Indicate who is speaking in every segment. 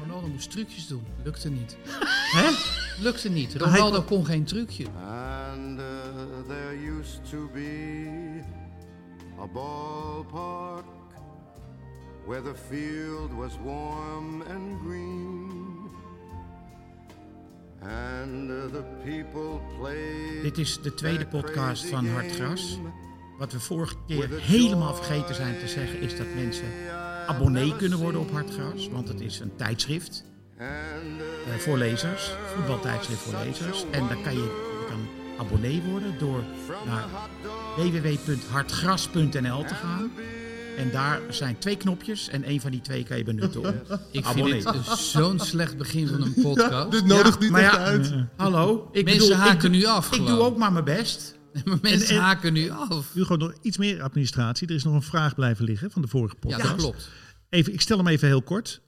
Speaker 1: Ronaldo moest trucjes doen. Lukte niet. Hè? Lukte niet. Ronaldo kon geen trucje.
Speaker 2: And uh, there used to be a ballpark where the field was warm and green. And uh, the people played.
Speaker 1: Dit is de tweede podcast van Hartgras. Wat we vorige
Speaker 2: Eh, With
Speaker 1: keer
Speaker 2: a
Speaker 1: helemaal
Speaker 2: joy
Speaker 1: vergeten zijn te zeggen is dat mensen abonnee kunnen worden op Hartgras. Want het is een tijdschrift
Speaker 2: uh,
Speaker 1: eh, voor lezers. Voetbaltijdschrift voor lezers. En daar kan je, je kan abonnee worden door naar www.hartgras.nl te gaan. En daar zijn twee knopjes en één van die twee kan je benutten om
Speaker 3: Ik
Speaker 1: abonnee.
Speaker 3: vind dit dus zo'n slecht begin van een podcast.
Speaker 4: Dit nodigt niet
Speaker 1: maar
Speaker 4: echt
Speaker 1: ja, eh,
Speaker 4: uit.
Speaker 1: Hallo, ik
Speaker 3: Mensen
Speaker 1: bedoel,
Speaker 3: haken
Speaker 1: ik,
Speaker 3: nu af
Speaker 1: Ik
Speaker 3: gewoon.
Speaker 1: doe ook maar mijn best.
Speaker 3: Maar mensen
Speaker 4: en-
Speaker 3: haken nu af.
Speaker 4: Nu gewoon nog iets meer administratie. Er is nog een vraag blijven liggen van de vorige
Speaker 3: Ja,
Speaker 4: podcast.
Speaker 3: dat klopt.
Speaker 4: Even, ik stel hem even heel kort.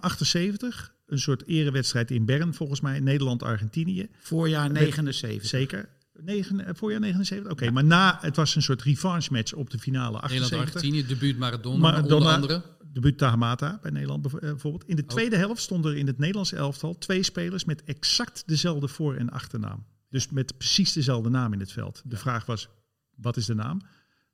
Speaker 4: 1978, een soort erewedstrijd in Bern, volgens mij, Nederland-Argentinië.
Speaker 1: Voorjaar 79.
Speaker 4: Zeker. Negen, eh, voorjaar 79? Oké, maar na, het was een soort revanche match op de finale 78.
Speaker 3: Nederland-Argentinië, debuut Maradona, onder
Speaker 4: Maradona,
Speaker 3: andere.
Speaker 4: De buurt Tahamata bij Nederland bev- eh, bijvoorbeeld. In de tweede helft stonden er in het Nederlands elftal twee spelers met exact dezelfde voor- en achternaam. Dus met precies dezelfde naam in het veld. De vraag was, wat is de naam?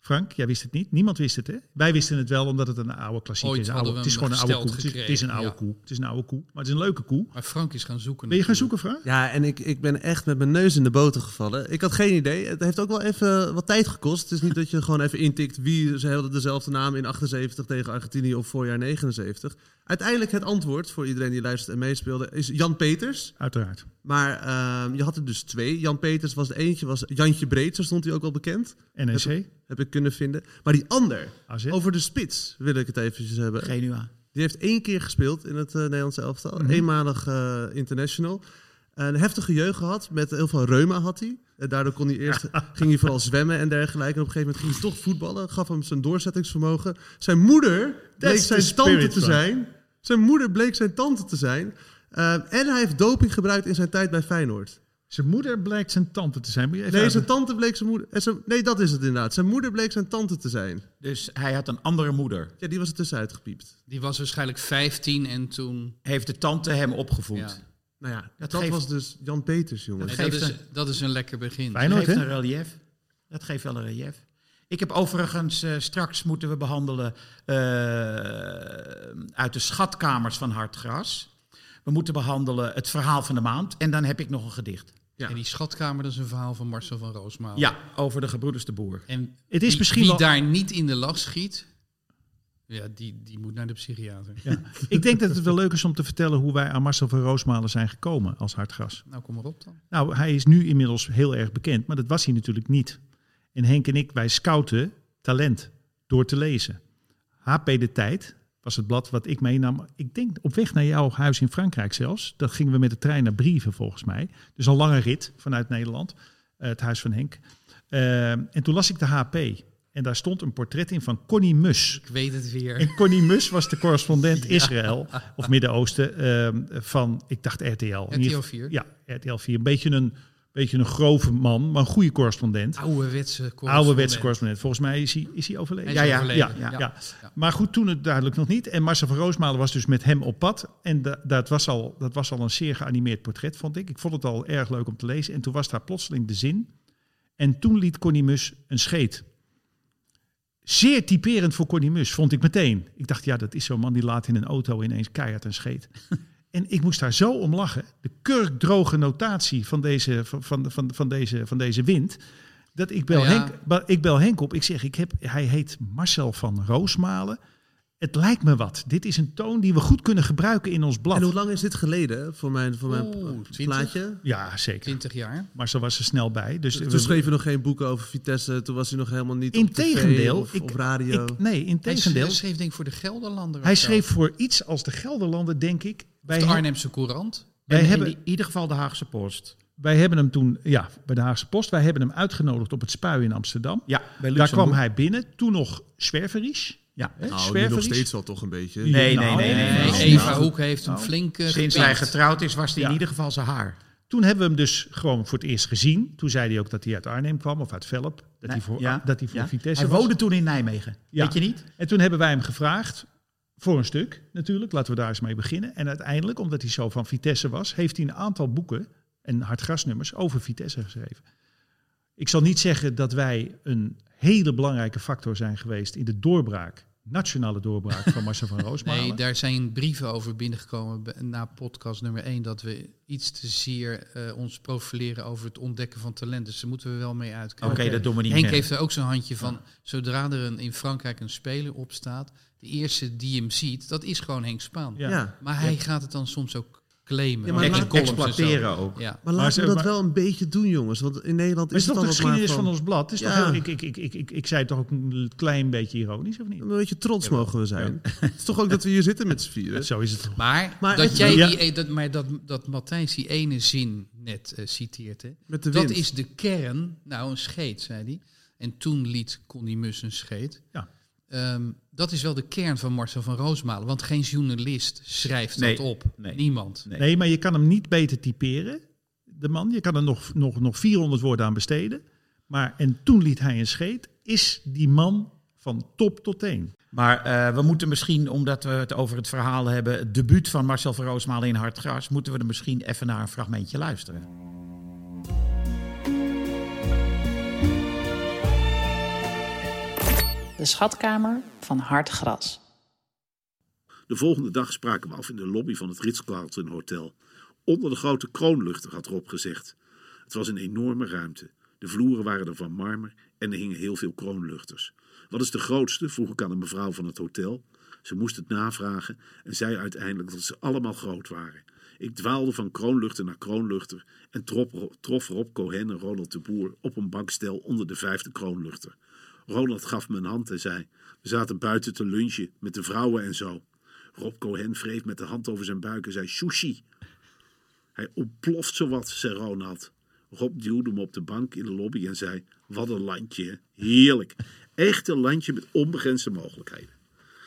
Speaker 4: Frank, jij wist het niet. Niemand wist het, hè? Wij wisten het wel, omdat het een oude klassiek
Speaker 3: Ooit
Speaker 4: is.
Speaker 3: hadden we
Speaker 4: Oude, het is
Speaker 3: hem
Speaker 4: gewoon een oude koe.
Speaker 3: gesteld
Speaker 4: Het is, het is een oude
Speaker 3: gekregen, Hmm.
Speaker 4: koe. Het is een oude koe. Maar het is een leuke koe.
Speaker 3: Maar Frank is gaan zoeken.
Speaker 4: Ben je gaan
Speaker 3: natuurlijk.
Speaker 4: zoeken, Frank?
Speaker 5: Ja, en ik, ik ben echt met mijn neus in de boter gevallen. Ik had geen idee. Het heeft ook wel even wat tijd gekost. Het is niet dat je gewoon even intikt wie ze hadden dezelfde naam in 78 tegen Argentinië of voorjaar 79. Uiteindelijk het antwoord voor iedereen die luistert en meespeelde is Jan Peters.
Speaker 4: Uiteraard.
Speaker 5: Maar ehm, je had er dus twee. Jan Peters was de eentje, was Jantje Breed, zo stond hij ook wel bekend.
Speaker 4: NEC.
Speaker 5: Heb ik kunnen vinden. Maar die ander,
Speaker 4: AZ.
Speaker 5: over de spits wil ik het eventjes hebben.
Speaker 1: Genua.
Speaker 5: Die heeft één keer gespeeld in het eh, Nederlandse elftal. Eenmalig eh, international. Een heftige jeugd gehad. Met heel veel reuma had hij. En daardoor kon hij eerst, ging hij vooral zwemmen en dergelijke. En op een gegeven moment ging hij toch voetballen. Gaf hem zijn doorzettingsvermogen. Zijn moeder bleek
Speaker 4: That's the
Speaker 5: zijn tante
Speaker 4: spirit,
Speaker 5: te
Speaker 4: Frank.
Speaker 5: zijn. Zijn moeder bleek zijn tante te zijn. Eh, en hij heeft doping gebruikt in zijn tijd bij Feyenoord.
Speaker 4: Zijn moeder blijkt zijn tante te zijn. Moet je even
Speaker 5: Nee,
Speaker 4: uit-
Speaker 5: zijn tante bleek zijn moeder... eh, zijn- nee, dat is het inderdaad. Zijn moeder bleek zijn tante te zijn.
Speaker 1: Dus hij had een andere moeder.
Speaker 5: Ja, die was er tussenuit gepiept.
Speaker 3: Die was waarschijnlijk 15 en toen...
Speaker 1: Heeft de tante hem opgevoed.
Speaker 3: Ja.
Speaker 5: Nou ja, dat,
Speaker 1: geeft-
Speaker 5: was dus Jan Peters,
Speaker 3: Nee,
Speaker 5: jongens.
Speaker 3: dat,
Speaker 1: geeft
Speaker 3: is,
Speaker 1: een-
Speaker 3: dat is een lekker begin.
Speaker 1: Dat
Speaker 4: Feyenoord,
Speaker 1: geeft
Speaker 4: hè?
Speaker 1: een relief. Dat geeft wel een relief. Ik heb overigens, eh, straks moeten we behandelen eh, uit de schatkamers van Hartgras. We moeten behandelen het verhaal van de maand. En dan heb ik nog een gedicht.
Speaker 3: En die schatkamer, dat is een verhaal van Marcel van Roosmaal.
Speaker 4: Oh.
Speaker 1: Ja, over de gebroeders de boer.
Speaker 3: En
Speaker 4: Het is
Speaker 3: wie,
Speaker 4: misschien
Speaker 3: wie
Speaker 4: wel-
Speaker 3: daar niet in de lach schiet, ja, die, die moet naar de psychiater.
Speaker 4: Ik denk dat het wel leuk is om te vertellen hoe wij aan Marcel van Roosmalen zijn gekomen als hartgras.
Speaker 3: Nou, kom maar op dan.
Speaker 4: Nou, hij is nu inmiddels heel erg bekend, maar dat was hij natuurlijk niet. En Henk en ik, wij scouten talent door te lezen. HP De Tijd was het blad wat ik meenam. Ik denk op weg naar jouw huis in Frankrijk zelfs. Dat gingen we met de trein naar Brieven volgens mij. Dus een lange rit vanuit Nederland. eh, het huis van Henk. Eh, en toen las ik de HP. En daar stond een portret in van Connie Mus.
Speaker 3: Ik weet het weer.
Speaker 4: En Connie Mus was de correspondent Israël of Midden-Oosten ehm, van, ik dacht RTL. In ieder geval-
Speaker 3: 4.
Speaker 4: Ja, RTL 4. Een beetje een, beetje een grove man, maar een goede correspondent.
Speaker 3: Ouderwetse
Speaker 4: Ouderwetse correspondent. Volgens mij is hij, is hij overleden.
Speaker 3: Hij is
Speaker 1: Ja, ja,
Speaker 3: overleden.
Speaker 4: ja, ja. Maar goed, toen het duidelijk nog niet. En Marcel van Roosmalen was dus met hem op pad. En da- dat, was al, dat was al een zeer geanimeerd portret, vond ik. Ik vond het al erg leuk om te lezen. En toen was daar plotseling de zin. En toen liet Connie Mus een scheet. Zeer typerend voor Connie Mus, vond ik meteen. Ik dacht, ja, dat is zo'n man die laat in een auto ineens keihard en scheet. en ik moest daar zo om lachen. De kurkdroge notatie van deze, van, van, van, van deze, van deze wind. Dat ik bel,
Speaker 3: Ja.
Speaker 4: Henk, ba- ik bel Henk op. Ik zeg, ik heb, hij heet Marcel van Roosmalen. Het lijkt me wat. Dit is een toon die we goed kunnen gebruiken in ons blad.
Speaker 5: En hoe lang is dit geleden hè, voor mijn, voor mijn
Speaker 3: Oeh,
Speaker 5: eh,
Speaker 3: 20?
Speaker 5: plaatje?
Speaker 4: Ja, zeker.
Speaker 3: 20 jaar.
Speaker 4: Marcel was er snel bij. Dus
Speaker 5: Toen
Speaker 4: we-
Speaker 5: schreef je nog geen boeken over Vitesse. Toen was hij nog helemaal niet op tv
Speaker 4: Integendeel,
Speaker 5: of
Speaker 4: ik,
Speaker 5: op radio.
Speaker 4: ik- nee,
Speaker 3: Hij
Speaker 4: integendeel.
Speaker 3: schreef,
Speaker 4: Hij,
Speaker 3: schreef denk ik voor de Gelderlander. of zo.
Speaker 4: schreef voor iets als de Gelderlander, denk ik. Wij,
Speaker 3: Of de
Speaker 4: he-
Speaker 3: Arnhemse Courant.
Speaker 4: wij,
Speaker 1: En in
Speaker 4: hebben,
Speaker 1: i- ieder geval de Haagse Post.
Speaker 4: wij hebben hem toen, ja, bij de Haagse Post, wij hebben hem uitgenodigd op het Spui in Amsterdam.
Speaker 1: Ja, bij
Speaker 4: Daar
Speaker 1: Luxemburg.
Speaker 4: kwam hij binnen, toen nog zwerverisch.
Speaker 1: Ja.
Speaker 4: Hè,
Speaker 5: Nou, nu nog
Speaker 4: zwerverisch.
Speaker 5: steeds wel toch een beetje.
Speaker 4: Ja.
Speaker 1: Nee, nee,
Speaker 4: Nou,
Speaker 1: nee, nee. nee.
Speaker 3: Nee, Eva Hoek heeft hem flink eh,
Speaker 1: Sinds
Speaker 3: gepikt.
Speaker 1: hij getrouwd is, was hij
Speaker 4: Ja.
Speaker 1: in ieder geval zijn haar.
Speaker 4: Toen hebben we hem dus gewoon voor het eerst gezien. Toen zei hij ook dat hij uit Arnhem kwam of uit Velp. Dat hij voor,
Speaker 1: Ja,
Speaker 4: dat hij voor
Speaker 1: ja.
Speaker 4: Vitesse
Speaker 1: Hij
Speaker 4: was.
Speaker 1: woonde toen in Nijmegen.
Speaker 4: Ja.
Speaker 1: Weet je niet?
Speaker 4: En toen hebben wij hem gevraagd, voor een stuk natuurlijk, laten we daar eens mee beginnen. En uiteindelijk, omdat hij zo van Vitesse was, heeft hij een aantal boeken en hardgrasnummers over Vitesse geschreven. Ik zal niet zeggen dat wij een hele belangrijke factor zijn geweest in de doorbraak, nationale doorbraak van Marcel van Roosmalen.
Speaker 3: Nee, daar zijn brieven over binnengekomen be- na podcast nummer 1. Dat we iets te zeer eh, ons profileren over het ontdekken van talent. Dus daar moeten we wel mee
Speaker 1: Oké,
Speaker 3: uitkomen.
Speaker 1: dat doen we niet
Speaker 3: Henk
Speaker 1: meer.
Speaker 3: heeft er ook zo'n handje van. Zodra er een, in Frankrijk een speler opstaat, de eerste die hem ziet, dat is gewoon Henk Spaan.
Speaker 4: Ja.
Speaker 5: Ja.
Speaker 3: Maar hij gaat het dan soms ook claimen.
Speaker 5: Ja, maar
Speaker 3: Ook in
Speaker 5: laat-
Speaker 3: columns en zo.
Speaker 1: exploiteren ook.
Speaker 3: Ja.
Speaker 5: Maar
Speaker 4: Maar
Speaker 5: laten
Speaker 4: ze-
Speaker 5: we dat
Speaker 4: maar-
Speaker 5: wel een beetje doen, jongens. Want in Nederland
Speaker 4: Maar
Speaker 5: is
Speaker 4: het is toch
Speaker 5: het
Speaker 4: de
Speaker 5: altijd maar
Speaker 4: geschiedenis van
Speaker 5: gewoon-
Speaker 4: ons blad? Het Is
Speaker 5: Ja.
Speaker 4: toch heel, ik, ik, ik, ik, ik, ik zei het toch ook een klein beetje ironisch, of niet?
Speaker 5: Een beetje trots mogen we zijn. Het is toch ook dat we hier zitten met z'n vieren.
Speaker 4: Zo is het toch?
Speaker 3: Maar,
Speaker 5: Maar
Speaker 3: dat,
Speaker 5: het-
Speaker 3: jij
Speaker 4: Ja.
Speaker 3: die, eh, dat, maar dat, dat Matthijs die ene zin net eh, citeert, hè?
Speaker 5: Met de
Speaker 3: dat
Speaker 5: wind.
Speaker 3: is de kern. Nou, een scheet, zei hij. En toen liet Connie Mus een scheet.
Speaker 4: Ja.
Speaker 3: Ehm, dat is wel de kern van Marcel van Roosmalen. Want geen journalist schrijft
Speaker 1: Nee,
Speaker 3: dat op.
Speaker 1: nee.
Speaker 3: Niemand.
Speaker 1: Nee.
Speaker 4: Nee, maar je kan hem niet beter typeren, de man. Je kan er nog, nog, nog 400 woorden aan besteden. Maar en toen liet hij een scheet, is die man van top tot teen.
Speaker 1: Maar eh, we moeten misschien, omdat we het over het verhaal hebben, het debuut van Marcel van Roosmalen in Hard Gras, moeten we er misschien even naar een fragmentje luisteren.
Speaker 6: De schatkamer van hard gras.
Speaker 7: De volgende dag spraken we af in de lobby van het Ritz-Carlton Hotel. Onder de grote kroonluchter, had Rob gezegd. Het was een enorme ruimte. De vloeren waren er van marmer en er hingen heel veel kroonluchters. Wat is de grootste? vroeg ik aan een mevrouw van het hotel. Ze moest het navragen en zei uiteindelijk dat ze allemaal groot waren. Ik dwaalde van kroonluchter naar kroonluchter en trof, trof Rob Cohen en Ronald de Boer op een bankstel onder de vijfde kroonluchter. Ronald gaf me een hand en zei: We zaten buiten te lunchen met de vrouwen en zo. Rob Cohen wreef met de hand over zijn buik en zei: Sushi. Hij ontploft zowat, zei Ronald. Rob duwde hem op de bank in de lobby en zei: Wat een landje, hè? heerlijk. Echt een landje met onbegrensde mogelijkheden.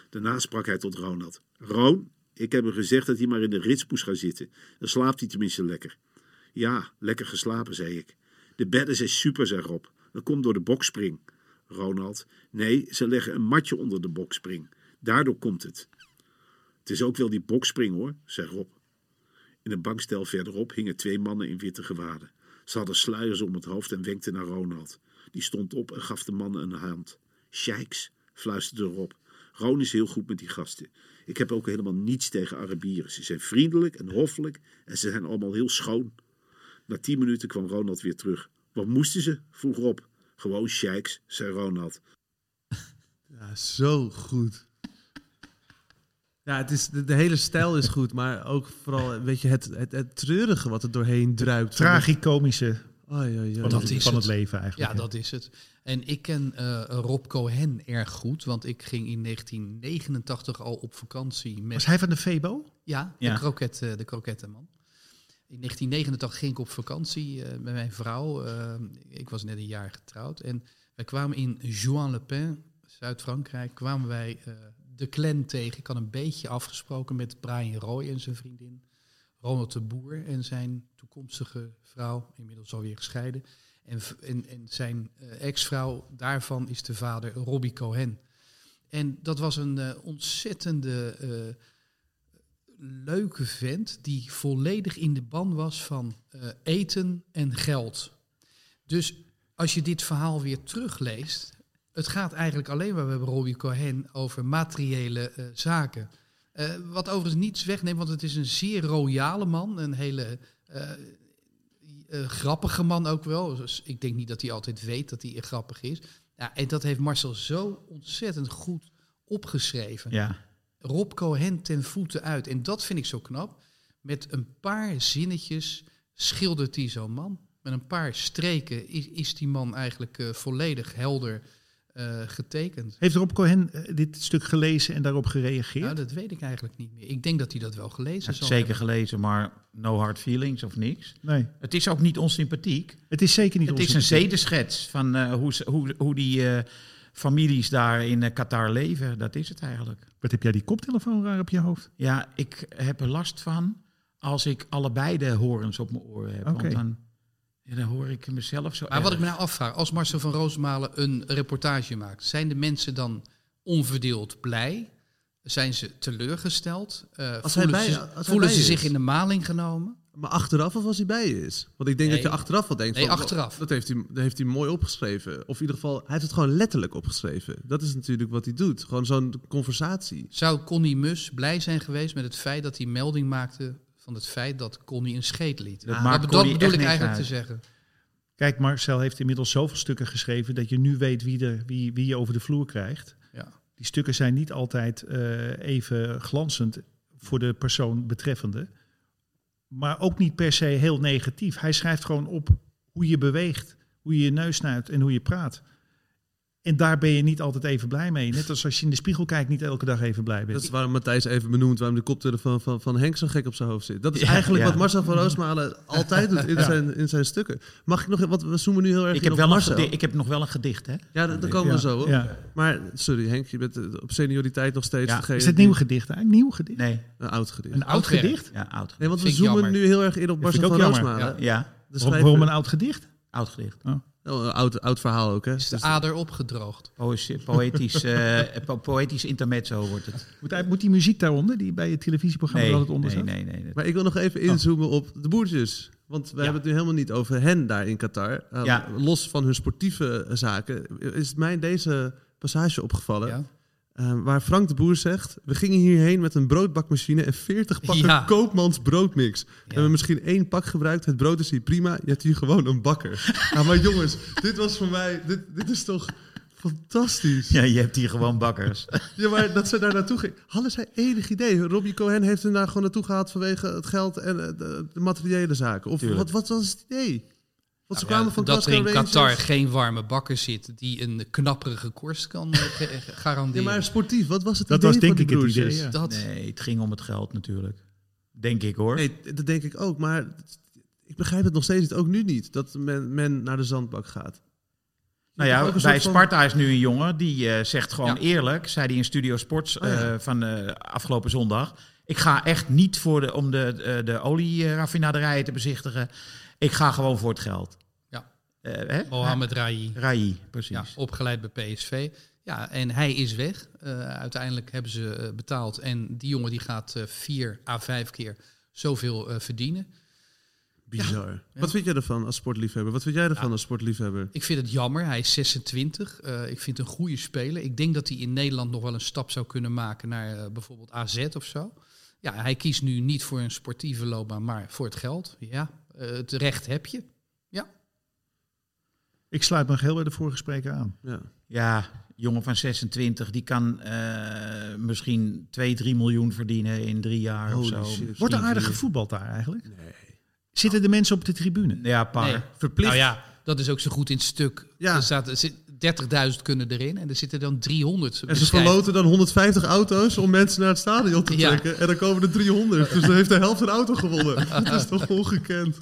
Speaker 7: Daarna sprak hij tot Ronald: Roon, ik heb hem gezegd dat hij maar in de rits moest gaan zitten. Dan slaapt hij tenminste lekker. Ja, lekker geslapen, zei ik. De bedden zijn super, zei Rob. Dat komt door de bokspring. Ronald: Nee, ze leggen een matje onder de bokspring. Daardoor komt het. Het is ook wel die bokspring hoor, zei Rob. In een bankstel verderop hingen twee mannen in witte gewaden. Ze hadden sluiers om het hoofd en wenkten naar Ronald. Die stond op en gaf de mannen een hand. Sheiks, fluisterde Rob. Ron is heel goed met die gasten. Ik heb ook helemaal niets tegen Arabieren. Ze zijn vriendelijk en hoffelijk en ze zijn allemaal heel schoon. Na tien minuten kwam Ronald weer terug. Wat moesten ze? vroeg Rob. Gewoon sheiks, zei Ronald.
Speaker 5: Ja, zo goed. Ja, het is, de, de hele stijl is goed, maar ook vooral weet je, het, het, het treurige wat er doorheen druipt.
Speaker 4: Tragicomische
Speaker 5: Oei, oei, oei.
Speaker 4: van,
Speaker 3: dat
Speaker 4: het,
Speaker 3: is
Speaker 4: van het
Speaker 3: het.
Speaker 4: leven eigenlijk.
Speaker 3: Ja, dat is het. En ik ken eh, Rob Cohen erg goed, want ik ging in 1989 al op vakantie met
Speaker 4: Was hij van de Febo?
Speaker 3: Ja,
Speaker 1: Ja.
Speaker 3: De, kroket, eh, de krokettenman. In 1989 ging ik op vakantie eh, met mijn vrouw. Eh, ik was net een jaar getrouwd. En wij kwamen in Juan-le-Pin, Zuid-Frankrijk, kwamen wij eh, de clan tegen. Ik had een beetje afgesproken met Brian Roy en zijn vriendin. Ronald de Boer en zijn toekomstige vrouw, inmiddels alweer gescheiden. En, v- en, en zijn eh, ex-vrouw daarvan is de vader Robbie Cohen. En dat was een eh, ontzettende eh, leuke vent die volledig in de ban was van eh, eten en geld. Dus als je dit verhaal weer terugleest, Het gaat eigenlijk alleen maar bij Robbie Cohen over materiële eh, zaken. Eh, wat overigens niets wegneemt, want het is een zeer royale man. Een hele eh, eh, grappige man ook wel. Dus ik denk niet dat hij altijd weet dat hij grappig is. Ja, en dat heeft Marcel zo ontzettend goed opgeschreven.
Speaker 4: Ja.
Speaker 3: Rob Cohen ten voeten uit. En dat vind ik zo knap. Met een paar zinnetjes schildert hij zo'n man. Met een paar streken is, is die man eigenlijk eh, volledig helder eh, getekend.
Speaker 4: Heeft Rob Cohen eh, dit stuk gelezen en daarop gereageerd?
Speaker 3: Nou, dat weet ik eigenlijk niet meer. Ik denk dat hij dat wel gelezen
Speaker 1: Heb ik
Speaker 3: zal
Speaker 1: zeker
Speaker 3: hebben.
Speaker 1: gelezen, maar no hard feelings of niks.
Speaker 4: nee.
Speaker 1: Het is ook niet onsympathiek.
Speaker 4: Het is zeker niet
Speaker 1: Het is
Speaker 4: onze
Speaker 1: een
Speaker 4: kritiek.
Speaker 1: zedenschets van eh, hoe, ze- hoe, hoe die eh, families daar in eh, Qatar leven. Dat is het eigenlijk.
Speaker 4: Wat heb jij die koptelefoon raar op je hoofd?
Speaker 1: Ja, ik heb er last van als ik allebei de horens op mijn oren heb.
Speaker 4: Oké.
Speaker 1: Want dan, ja, dan hoor ik mezelf zo
Speaker 3: Maar wat ik
Speaker 1: erg.
Speaker 3: me nou afvraag, als Marcel van Roosmalen een reportage maakt, zijn de mensen dan onverdeeld blij? Zijn ze teleurgesteld? Eh,
Speaker 5: Als hij
Speaker 3: voelen
Speaker 5: bij-
Speaker 3: ze,
Speaker 5: als hij
Speaker 3: voelen
Speaker 5: bij
Speaker 3: ze
Speaker 5: is.
Speaker 3: zich in de maling genomen?
Speaker 5: Maar achteraf of als hij bij je is? Want ik denk dat
Speaker 3: Nee.
Speaker 5: je achteraf wel denkt...
Speaker 3: Nee,
Speaker 5: van,
Speaker 3: achteraf.
Speaker 5: Dat heeft, hij, dat heeft hij mooi opgeschreven. Of in ieder geval, hij heeft het gewoon letterlijk opgeschreven. Dat is natuurlijk wat hij doet. Gewoon zo'n conversatie.
Speaker 3: Zou Connie Mus blij zijn geweest met het feit dat hij melding maakte van het feit dat Connie een scheet liet?
Speaker 1: Dat
Speaker 3: Dat,
Speaker 1: maakt
Speaker 3: dat
Speaker 1: Connie
Speaker 3: bedoel
Speaker 1: echt
Speaker 3: ik
Speaker 1: niks
Speaker 3: eigenlijk
Speaker 1: uit.
Speaker 3: te zeggen.
Speaker 4: Kijk, Marcel heeft inmiddels zoveel stukken geschreven dat je nu weet wie, er, wie, wie je over de vloer krijgt.
Speaker 3: Ja.
Speaker 4: Die stukken zijn niet altijd eh, even glanzend voor de persoon betreffende. Maar ook niet per se heel negatief. Hij schrijft gewoon op hoe je beweegt, hoe je je neus snuit en hoe je praat. En daar ben je niet altijd even blij mee. Net als als je in de spiegel kijkt, niet elke dag even blij bent.
Speaker 5: Dat is waarom Matthijs even benoemd waarom de koptelefoon van, van Henk zo gek op zijn hoofd zit. Dat is
Speaker 1: Ja,
Speaker 5: eigenlijk
Speaker 1: ja.
Speaker 5: wat Marcel van Roosmalen altijd doet in, zijn, in zijn stukken. Mag ik nog... Want we zoomen nu heel erg
Speaker 1: ik,
Speaker 5: in
Speaker 1: heb
Speaker 5: op
Speaker 1: wel een
Speaker 5: Marcel.
Speaker 1: gedi- ik heb nog wel een gedicht, hè?
Speaker 5: Ja, daar daar komen
Speaker 4: Ja,
Speaker 5: we zo op.
Speaker 4: ja.
Speaker 5: Maar, sorry Henk, je bent eh, op senioriteit nog steeds
Speaker 1: Ja.
Speaker 5: degene
Speaker 4: Is het
Speaker 5: die-
Speaker 4: nieuw gedicht eigenlijk? Nieuw gedicht?
Speaker 1: Nee,
Speaker 5: Een oud gedicht.
Speaker 4: Een oud
Speaker 3: Oud werk.
Speaker 4: gedicht?
Speaker 1: ja, oud gedicht.
Speaker 5: Nee, want we
Speaker 3: Vind ik
Speaker 5: zoomen
Speaker 3: jammer.
Speaker 5: nu heel erg in op
Speaker 4: Dat vind
Speaker 5: Marcel
Speaker 4: ik
Speaker 5: van
Speaker 4: ook jammer.
Speaker 5: Roosmalen.
Speaker 1: Ja,
Speaker 5: De
Speaker 4: Waarom-
Speaker 5: schrijver.
Speaker 4: Waarom een oud gedicht?
Speaker 1: oud gedicht.
Speaker 5: Oh, een oud, oud verhaal ook, hè?
Speaker 3: Is de
Speaker 5: Dus-
Speaker 3: ader opgedroogd?
Speaker 1: Poëtisch, poëtisch, eh, po- poëtisch intermezzo wordt het.
Speaker 4: Moet, hij- moet die muziek daaronder, die bij het televisieprogramma
Speaker 1: Nee,
Speaker 4: altijd onder
Speaker 1: nee,
Speaker 4: zat?
Speaker 1: nee, nee. nee.
Speaker 5: Maar ik wil nog
Speaker 3: Oh.
Speaker 5: even inzoomen op de boertjes. Want we hebben het nu helemaal niet over hen daar in Qatar. Uh,
Speaker 1: Ja.
Speaker 5: Los van hun sportieve eh, zaken is mij deze passage opgevallen.
Speaker 3: Ja.
Speaker 5: eh, waar Frank de Boer zegt... We gingen hierheen met een broodbakmachine en 40 pakken
Speaker 3: Ja.
Speaker 5: koopmans broodmix. We hebben misschien één pak gebruikt. Het brood is hier prima. Je hebt hier gewoon een bakker. nou, maar jongens, dit was voor mij... Dit, dit is toch fantastisch.
Speaker 1: Ja, je hebt hier gewoon bakkers.
Speaker 5: Ja, maar dat ze daar naartoe ging. Hadden zij enig idee? Robbie Cohen heeft hem daar gewoon naartoe gehaald vanwege het geld en eh, de, de materiële zaken. Of wat, wat was het idee? Want ze kwamen van
Speaker 3: Nou dat er
Speaker 5: Glasgow
Speaker 3: in
Speaker 5: Rangers.
Speaker 3: Qatar geen warme bakker zit die een knapperige korst kan eh, ge- eh,
Speaker 5: Ja,
Speaker 3: garanderen.
Speaker 5: maar sportief, wat was het
Speaker 4: Dat
Speaker 5: idee
Speaker 4: was denk
Speaker 5: van
Speaker 4: ik
Speaker 5: die
Speaker 4: het
Speaker 5: broers?
Speaker 4: idee. ja.
Speaker 3: dat,
Speaker 1: Nee, het ging om het geld natuurlijk. Denk ik hoor.
Speaker 5: Nee, dat denk ik ook. Maar ik begrijp het nog steeds niet, ook nu niet, dat men, men naar de zandbak gaat.
Speaker 1: Nou
Speaker 5: Ook
Speaker 1: ja,
Speaker 5: een soort
Speaker 1: bij
Speaker 5: van-
Speaker 1: Sparta is nu een jongen die eh, zegt gewoon
Speaker 3: Ja.
Speaker 1: eerlijk, zei hij in Studio Sports
Speaker 5: Oh ja.
Speaker 1: eh, van eh, afgelopen zondag. Ik ga echt niet voor de, om de, eh, de olieraffinaderijen te bezichtigen. Ik ga gewoon voor het geld.
Speaker 3: Ja.
Speaker 1: Eh, hè?
Speaker 3: Mohamed Rai,
Speaker 1: Rai, precies.
Speaker 3: ja, opgeleid bij PSV. Ja, en hij is weg. Eh, uiteindelijk hebben ze eh, betaald. En die jongen die gaat eh, vier à vijf keer zoveel eh, verdienen.
Speaker 5: Bizar. Wat vind jij ervan als sportliefhebber? Wat vind jij ervan als sportliefhebber?
Speaker 3: Ik vind het jammer. Hij is 26. Eh, ik vind het een goede speler. Ik denk dat hij in Nederland nog wel een stap zou kunnen maken naar eh, bijvoorbeeld AZ of zo. Ja, hij kiest nu niet voor een sportieve loopbaan, maar voor het geld. Ja, eh, het recht heb je.
Speaker 4: Ik sluit me heel bij de vorige spreker aan.
Speaker 5: Ja.
Speaker 1: Ja, jongen van 26, die kan eh, misschien 2, 3 miljoen verdienen in drie jaar of
Speaker 5: Holy
Speaker 1: zo.
Speaker 5: shit.
Speaker 1: Misschien
Speaker 4: Wordt er aardig
Speaker 1: vier.
Speaker 4: gevoetbald daar eigenlijk? Zitten de mensen op de tribune?
Speaker 1: Ja, paar.
Speaker 3: Nee.
Speaker 5: Verplicht.
Speaker 3: Nou ja, dat is ook zo goed in het stuk.
Speaker 5: Ja.
Speaker 3: Er staat er zit- 30.000 kunnen erin en er zitten dan 300.
Speaker 5: En ze
Speaker 3: beschrijven.
Speaker 5: verloten dan 150 auto's om mensen naar het stadion te
Speaker 3: Ja.
Speaker 5: trekken. En dan komen er 300. Dus dan heeft de helft een auto gewonnen. Dat is toch ongekend.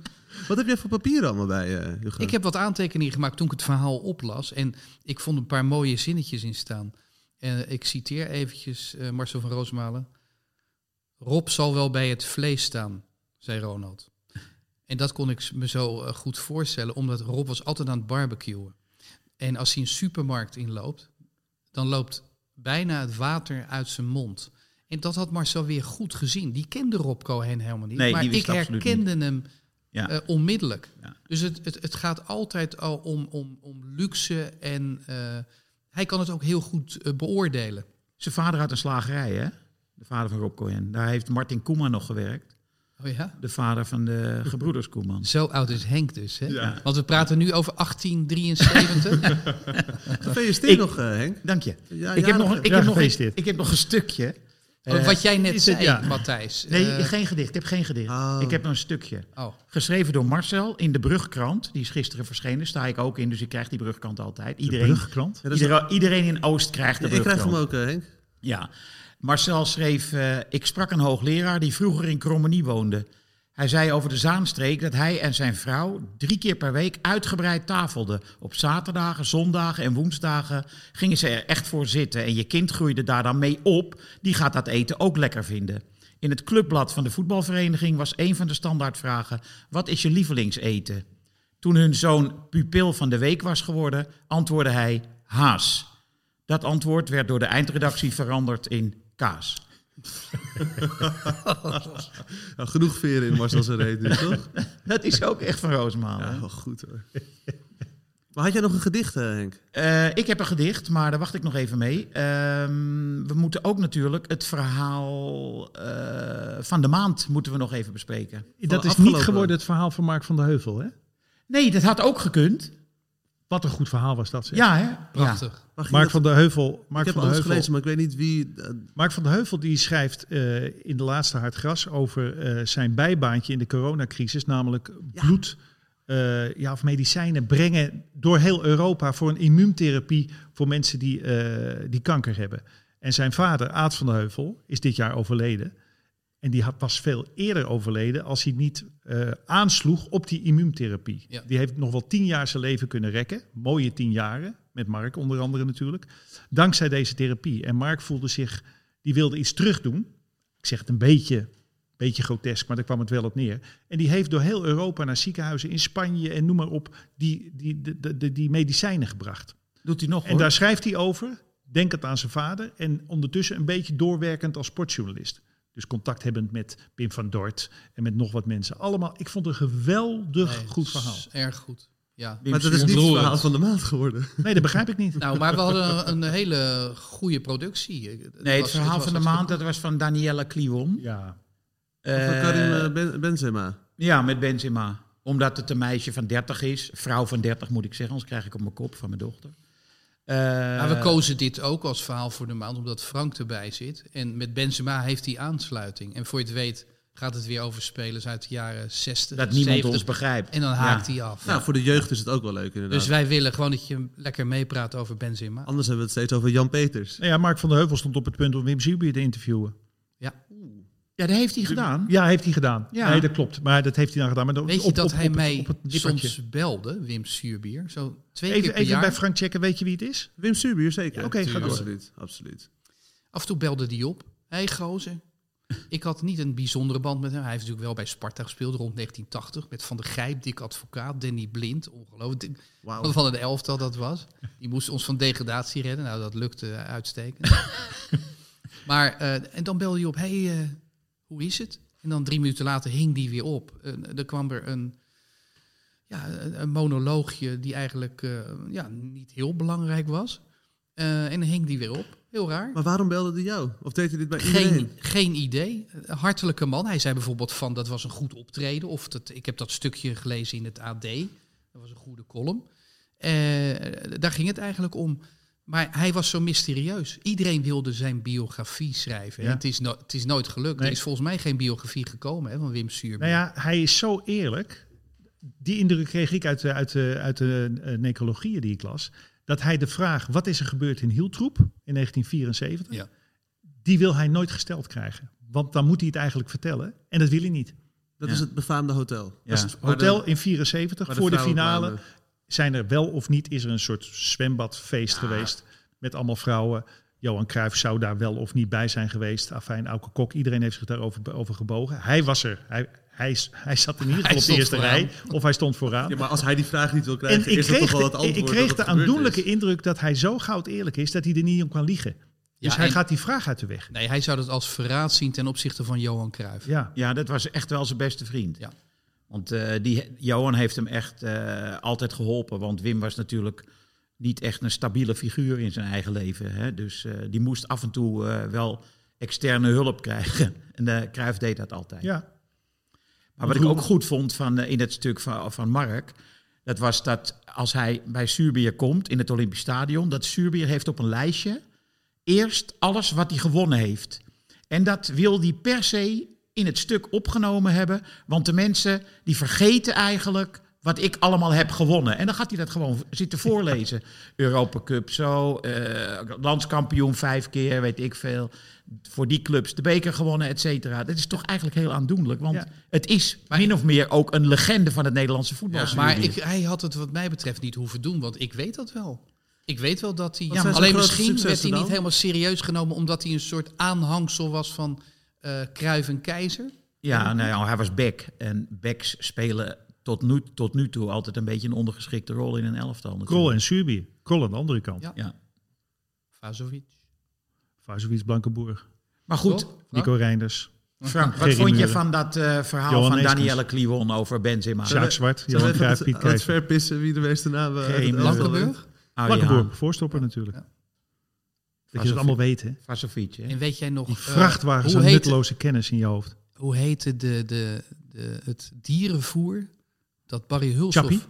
Speaker 5: Wat heb jij voor papier allemaal bij eh, je, Hugo?
Speaker 3: Ik heb wat aantekeningen gemaakt toen ik het verhaal oplas. En ik vond een paar mooie zinnetjes in staan. En ik citeer eventjes eh, Marcel van Roosmalen. Rob zal wel bij het vlees staan, zei Ronald. En dat kon ik me zo eh, goed voorstellen, omdat Rob was altijd aan het barbecuen. En als hij een supermarkt inloopt, dan loopt bijna het water uit zijn mond. En dat had Marcel weer goed gezien. Die kende Rob Cohen helemaal niet.
Speaker 1: Nee,
Speaker 3: maar
Speaker 1: die wist
Speaker 3: ik
Speaker 1: het absoluut
Speaker 3: herkende hem
Speaker 1: Ja.
Speaker 3: eh, onmiddellijk.
Speaker 1: Ja.
Speaker 3: Dus het, het, het gaat altijd al om, om, om luxe en eh, Hij kan het ook heel goed eh, beoordelen.
Speaker 1: Zijn vader had een slagerij, hè? De vader van Rob Cohen. Daar heeft Martin Koeman nog gewerkt.
Speaker 3: Oh ja?
Speaker 1: De vader van de gebroeders Koeman.
Speaker 3: Zo oud is Henk dus, hè? Want we praten nu over 1873.
Speaker 5: Gefeliciteerd nog, eh, Henk.
Speaker 1: Dank je.
Speaker 5: Ja,
Speaker 1: ik,
Speaker 5: ja,
Speaker 1: heb nog,
Speaker 5: dat-
Speaker 1: ik,
Speaker 4: ja,
Speaker 1: heb nog een,
Speaker 4: gefeliciteerd.
Speaker 1: ik heb nog een stukje. Eh,
Speaker 3: Wat jij net
Speaker 4: is het-
Speaker 3: zei,
Speaker 4: ja.
Speaker 3: Matthijs.
Speaker 1: nee,
Speaker 3: Eh,
Speaker 1: geen gedicht. Ik heb geen gedicht.
Speaker 5: Oh.
Speaker 1: Ik heb nog een stukje.
Speaker 3: oh,
Speaker 1: Geschreven door Marcel in de Brugkrant. Die is gisteren verschenen. Sta ik ook in, dus ik krijg die Brugkrant altijd.
Speaker 4: De
Speaker 1: Iedereen,
Speaker 4: brugkrant.
Speaker 5: Ja, dat is-
Speaker 1: iedereen, iedereen in Oost krijgt de
Speaker 5: ik
Speaker 1: Brugkrant.
Speaker 5: krijg hem ook, eh, Henk.
Speaker 1: Ja. Marcel schreef, eh, ik sprak een hoogleraar die vroeger in Krommenie woonde. Hij zei over de Zaanstreek dat hij en zijn vrouw drie keer per week uitgebreid tafelden. Op zaterdagen, zondagen en woensdagen gingen ze er echt voor zitten. En je kind groeide daar dan mee op, die gaat dat eten ook lekker vinden. In het clubblad van de voetbalvereniging was een van de standaardvragen, wat is je lievelingseten? Toen hun zoon pupil van de week was geworden, antwoordde hij haas. Dat antwoord werd door de eindredactie veranderd in kaas.
Speaker 5: Nou, genoeg veren in Marcel zijn reet nu, toch?
Speaker 1: Dat is ook echt van Roosmalen.
Speaker 5: Ja, wel goed hoor. Maar had jij nog een gedicht, eh, Henk?
Speaker 1: Eh, ik heb een gedicht, maar daar wacht ik nog even mee. Ehm, we moeten ook natuurlijk het verhaal eh, van de maand moeten we nog even bespreken.
Speaker 4: Dat is niet
Speaker 5: afgelopen-
Speaker 4: geworden het verhaal van Mark van der Heuvel, hè?
Speaker 1: Nee, dat had ook gekund.
Speaker 4: Wat een goed verhaal was dat, zeg.
Speaker 1: Ja, hè? Ja.
Speaker 3: prachtig.
Speaker 5: Mag je
Speaker 4: Mark
Speaker 5: dat-
Speaker 4: van der Heuvel,
Speaker 5: ik heb
Speaker 4: Mark van der
Speaker 5: alles
Speaker 4: Heuvel
Speaker 5: gelezen, maar ik weet niet wie... eh,
Speaker 4: Mark van der Heuvel die schrijft eh, in de laatste Hard Gras over eh, zijn bijbaantje in de coronacrisis, namelijk bloed eh, ja, of medicijnen brengen door heel Europa voor een immuuntherapie voor mensen die, eh, die kanker hebben. En zijn vader, Aad van der Heuvel, is dit jaar overleden. En die had pas veel eerder overleden als hij niet eh, aansloeg op die immuuntherapie.
Speaker 3: Ja.
Speaker 4: Die heeft nog wel tien jaar zijn leven kunnen rekken. Mooie tien jaren, met Mark onder andere natuurlijk. Dankzij deze therapie. En Mark voelde zich, die wilde iets terugdoen. Ik zeg het een beetje, beetje grotesk, maar daar kwam het wel op neer. En die heeft door heel Europa naar ziekenhuizen in Spanje en noem maar op, die, die, die, die, die medicijnen gebracht.
Speaker 1: Doet hij nog
Speaker 4: En
Speaker 1: hoor.
Speaker 4: daar schrijft hij over, denkend aan zijn vader. En ondertussen een beetje doorwerkend als sportjournalist. Dus contact hebbend met Pim van Dort en met nog wat mensen. Allemaal, ik vond het een geweldig
Speaker 3: Nee,
Speaker 4: goed
Speaker 3: het is
Speaker 4: verhaal.
Speaker 3: Erg goed. Ja.
Speaker 5: Maar dat is niet het
Speaker 3: Ontroerend.
Speaker 5: verhaal van de maand geworden.
Speaker 4: Nee, dat begrijp ik niet.
Speaker 3: Nou, maar we hadden een hele goede productie. Het
Speaker 1: Nee, het
Speaker 3: was- was
Speaker 1: verhaal van de
Speaker 3: hartstikke
Speaker 1: maand dat was van Daniela Kliwon.
Speaker 4: ja,
Speaker 5: Van
Speaker 1: Eh,
Speaker 5: Karim eh, ben, Benzema.
Speaker 1: ja, met Benzema. Omdat het een meisje van 30 is. Vrouw van 30 moet ik zeggen, anders krijg ik op mijn kop van mijn dochter. Eh,
Speaker 3: Maar we kozen dit ook als verhaal voor de maand, omdat Frank erbij zit. En met Benzema heeft hij aansluiting. En voor je het weet gaat het weer over spelers uit de jaren 60,
Speaker 1: dat niemand
Speaker 3: 70.
Speaker 1: ons begrijpt.
Speaker 3: En dan haakt hij af.
Speaker 5: Nou, voor de jeugd is het ook wel leuk inderdaad.
Speaker 3: dus wij willen gewoon dat je lekker meepraat over Benzema.
Speaker 5: Anders hebben we het steeds over Jan Peters.
Speaker 4: nou ja, Mark van der Heuvel stond op het punt om Wim Zubier te interviewen.
Speaker 1: Ja, dat heeft hij gedaan.
Speaker 4: Ja, heeft hij gedaan.
Speaker 1: Ja.
Speaker 4: Nee, dat klopt. Maar dat heeft hij dan gedaan. Maar dan
Speaker 3: Weet je
Speaker 4: op-
Speaker 3: dat
Speaker 4: op-
Speaker 3: hij
Speaker 4: op-
Speaker 3: mij
Speaker 4: op het stokje.
Speaker 3: soms belde, Wim Suurbier? Zo twee keer
Speaker 4: Even,
Speaker 3: per
Speaker 4: even
Speaker 3: jaar.
Speaker 4: bij Frank checken, weet je wie het is?
Speaker 5: Wim Suurbier zeker.
Speaker 4: Ja, oké, ga door.
Speaker 5: absoluut, absoluut.
Speaker 3: Af en toe belde die op. Hé, hey, gozer. Ik had niet een bijzondere band met hem. Hij heeft natuurlijk wel bij Sparta gespeeld rond 1980. Met Van der Gijp, Dick Advocaat, Danny Blind. Ongelooflijk.
Speaker 5: Wauw.
Speaker 3: Van een elftal dat was. Die moest ons van degradatie redden. Nou, dat lukte uitstekend. maar, eh, en dan belde hij op, hey, eh, hoe is het? En dan drie minuten later hing die weer op. En eh, er kwam er een, ja, een een monoloogje die eigenlijk eh, ja, niet heel belangrijk was. Eh, en dan hing die weer op. Heel raar.
Speaker 5: Maar waarom belde hij jou? Of deed hij dit bij
Speaker 3: Geen,
Speaker 5: iedereen?
Speaker 3: geen idee. Een hartelijke man. Hij zei bijvoorbeeld van dat was een goed optreden. Of dat, ik heb dat stukje gelezen in het AD. Dat was een goede column. Eh, daar ging het eigenlijk om. Maar hij was zo mysterieus. Iedereen wilde zijn biografie schrijven.
Speaker 4: Ja.
Speaker 3: En het, is no- het is nooit gelukt.
Speaker 4: Nee.
Speaker 3: Er is volgens mij geen biografie gekomen hè, van Wim Suurbeer.
Speaker 4: Nou ja, hij is zo eerlijk. Die indruk kreeg ik uit, de- uit, de- uit de eh, necrologieën die ik las. Dat hij de vraag, wat is er gebeurd in Hieltroep in 1974?
Speaker 3: Ja.
Speaker 4: Die wil hij nooit gesteld krijgen. Want dan moet hij het eigenlijk vertellen. En dat wil hij niet.
Speaker 5: Dat
Speaker 1: Ja.
Speaker 5: is het befaamde hotel.
Speaker 1: Ja.
Speaker 5: Dat is waar de-
Speaker 4: Hotel in 74,
Speaker 5: waar
Speaker 4: voor de,
Speaker 5: vrouwen
Speaker 4: finale.
Speaker 5: kwamen.
Speaker 4: Zijn er wel of niet, is er een soort zwembadfeest geweest. Met allemaal vrouwen. Johan Cruijff zou daar wel of niet bij zijn geweest. Afijn, Auke Kok, iedereen heeft zich daarover over gebogen. Hij was er. Hij, hij, hij zat in ieder geval op de
Speaker 3: stond
Speaker 4: eerste
Speaker 3: vooraan.
Speaker 4: rij. Of hij stond vooraan.
Speaker 5: Ja, maar als hij die vraag niet wil
Speaker 4: En
Speaker 5: krijgen,
Speaker 4: ik
Speaker 5: is dat
Speaker 4: kreeg,
Speaker 5: toch wel het
Speaker 4: de,
Speaker 5: antwoord.
Speaker 4: ik
Speaker 5: dat
Speaker 4: kreeg
Speaker 5: het
Speaker 4: de
Speaker 5: gebeurd
Speaker 4: aandoenlijke
Speaker 5: is.
Speaker 4: indruk dat hij zo goud eerlijk is dat hij er niet om kan liegen. Dus
Speaker 3: Ja,
Speaker 4: hij
Speaker 3: en-
Speaker 4: gaat die vraag uit de weg.
Speaker 3: Nee, hij zou dat als verraad zien ten opzichte van Johan Cruijff.
Speaker 4: Ja,
Speaker 1: Ja, dat was echt wel zijn beste vriend.
Speaker 3: Ja.
Speaker 1: Want eh, die, Johan heeft hem echt eh, altijd geholpen. Want Wim was natuurlijk niet echt een stabiele figuur in zijn eigen leven. Hè? Dus eh, die moest af en toe eh, wel externe hulp krijgen. En eh Cruijff deed dat altijd.
Speaker 4: Ja,
Speaker 1: Maar wat ik ook goed vond van, eh, in het stuk van, van Mark, dat was dat als hij bij Zuurbier komt in het Olympisch Stadion, dat Zuurbier heeft op een lijstje eerst alles wat hij gewonnen heeft. En dat wil hij per se in het stuk opgenomen hebben, want de mensen die vergeten eigenlijk wat ik allemaal heb gewonnen. En dan gaat hij dat gewoon zitten voorlezen. Europa Cup zo, eh, landskampioen vijf keer, weet ik veel. Voor die clubs de beker gewonnen, et cetera. Dat is toch eigenlijk heel aandoenlijk, want
Speaker 4: Ja.
Speaker 1: het is min of meer ook een legende van het Nederlandse voetbal.
Speaker 3: Ja, maar ik, hij had het wat mij betreft niet hoeven doen, want ik weet dat wel. Ik weet wel dat hij...
Speaker 5: zijn zijn
Speaker 3: alleen
Speaker 5: grote
Speaker 3: misschien werd
Speaker 5: successen
Speaker 3: hij niet
Speaker 5: dan?
Speaker 3: helemaal serieus genomen... omdat hij een soort aanhangsel was van eh Kruif en Keizer.
Speaker 1: Ja, nou ja, hij was back. En backs spelen tot nu, tot nu toe altijd een beetje een ondergeschikte rol in een elftal. natuurlijk.
Speaker 4: Krol en Surbier. Krol aan de andere kant.
Speaker 3: Ja.
Speaker 1: Ja.
Speaker 3: Vazovic.
Speaker 4: Vazovic, Blankenburg,
Speaker 1: Maar goed,
Speaker 3: Toch? Frank?
Speaker 4: Nico Reinders,
Speaker 1: Frank, wat
Speaker 4: Gerrie
Speaker 1: vond je
Speaker 4: Muren.
Speaker 1: van dat eh, verhaal
Speaker 4: Johan
Speaker 1: van
Speaker 4: Neeskens.
Speaker 1: Danielle Kliwon over Benzema?
Speaker 4: Sjaak Zwart,
Speaker 5: Zullen
Speaker 4: Johan
Speaker 5: we
Speaker 4: Cruijff,
Speaker 5: even
Speaker 4: Piet
Speaker 5: het- het
Speaker 4: Keizer.
Speaker 5: verpissen wie de meeste namen uit
Speaker 1: Geen
Speaker 5: het elftal heeft?
Speaker 3: Blankenburg.
Speaker 1: Ah, ja.
Speaker 4: Blankenburg, voorstopper natuurlijk.
Speaker 3: Ja.
Speaker 4: Dat je het allemaal weet, hè?
Speaker 1: Vasovic, hè?
Speaker 3: En weet jij nog...
Speaker 4: Die
Speaker 3: eh,
Speaker 4: vrachtwagens
Speaker 3: hoe
Speaker 4: aan
Speaker 3: heette-
Speaker 4: nutteloze kennis in je hoofd.
Speaker 3: Hoe heette de, de, de, het dierenvoer dat Barry Hulshoff...
Speaker 4: Chappie?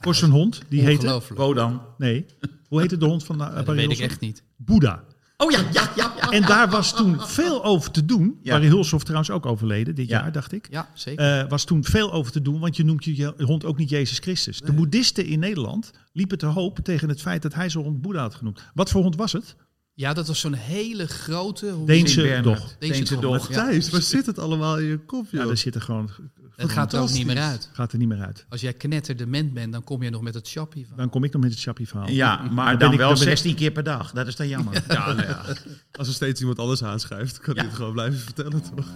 Speaker 4: Voor zijn hond, die heette...
Speaker 3: Ongelooflijk.
Speaker 1: Rodan.
Speaker 4: Nee, hoe heette de hond van eh,
Speaker 3: dat
Speaker 4: Barry
Speaker 3: weet ik
Speaker 4: Hulshoff?
Speaker 3: echt niet.
Speaker 4: Boeddha.
Speaker 1: Oh ja, ja, ja. ja.
Speaker 4: En daar was toen veel over te doen.
Speaker 1: Ja.
Speaker 4: Barry Hulshoff trouwens ook overleden dit
Speaker 1: Ja.
Speaker 4: jaar, dacht ik.
Speaker 3: Ja, zeker.
Speaker 4: Eh, was toen veel over te doen, want je noemt je je hond ook niet Jezus Christus. De boeddhisten in Nederland liepen te hoop tegen het feit dat hij zijn hond Boeddha had genoemd. Wat voor hond was het?
Speaker 3: ja, dat was zo'n hele grote... hoe-
Speaker 4: Deense
Speaker 1: Bernhard.
Speaker 4: dog.
Speaker 3: Deense
Speaker 1: Deense
Speaker 3: dog.
Speaker 1: dog.
Speaker 3: Ja.
Speaker 5: Thijs, waar zit het allemaal in je kop, joh?
Speaker 4: Ja, dus- daar zit er gewoon,
Speaker 3: Het gaat er ook niet meer uit.
Speaker 5: Fantastisch.
Speaker 4: gaat er niet meer uit.
Speaker 3: Als jij knetterdement bent, dan kom je nog met dat chappie van.
Speaker 4: Dan kom ik nog met het chappie verhaal.
Speaker 1: Ja, maar
Speaker 4: ben
Speaker 1: dan
Speaker 4: ik-
Speaker 1: wel
Speaker 4: dan ben ik-
Speaker 1: 16 keer per dag. Dat is dan jammer.
Speaker 5: Ja, nou ja. Als er steeds iemand anders aanschuift, kan hij het gewoon blijven vertellen, toch?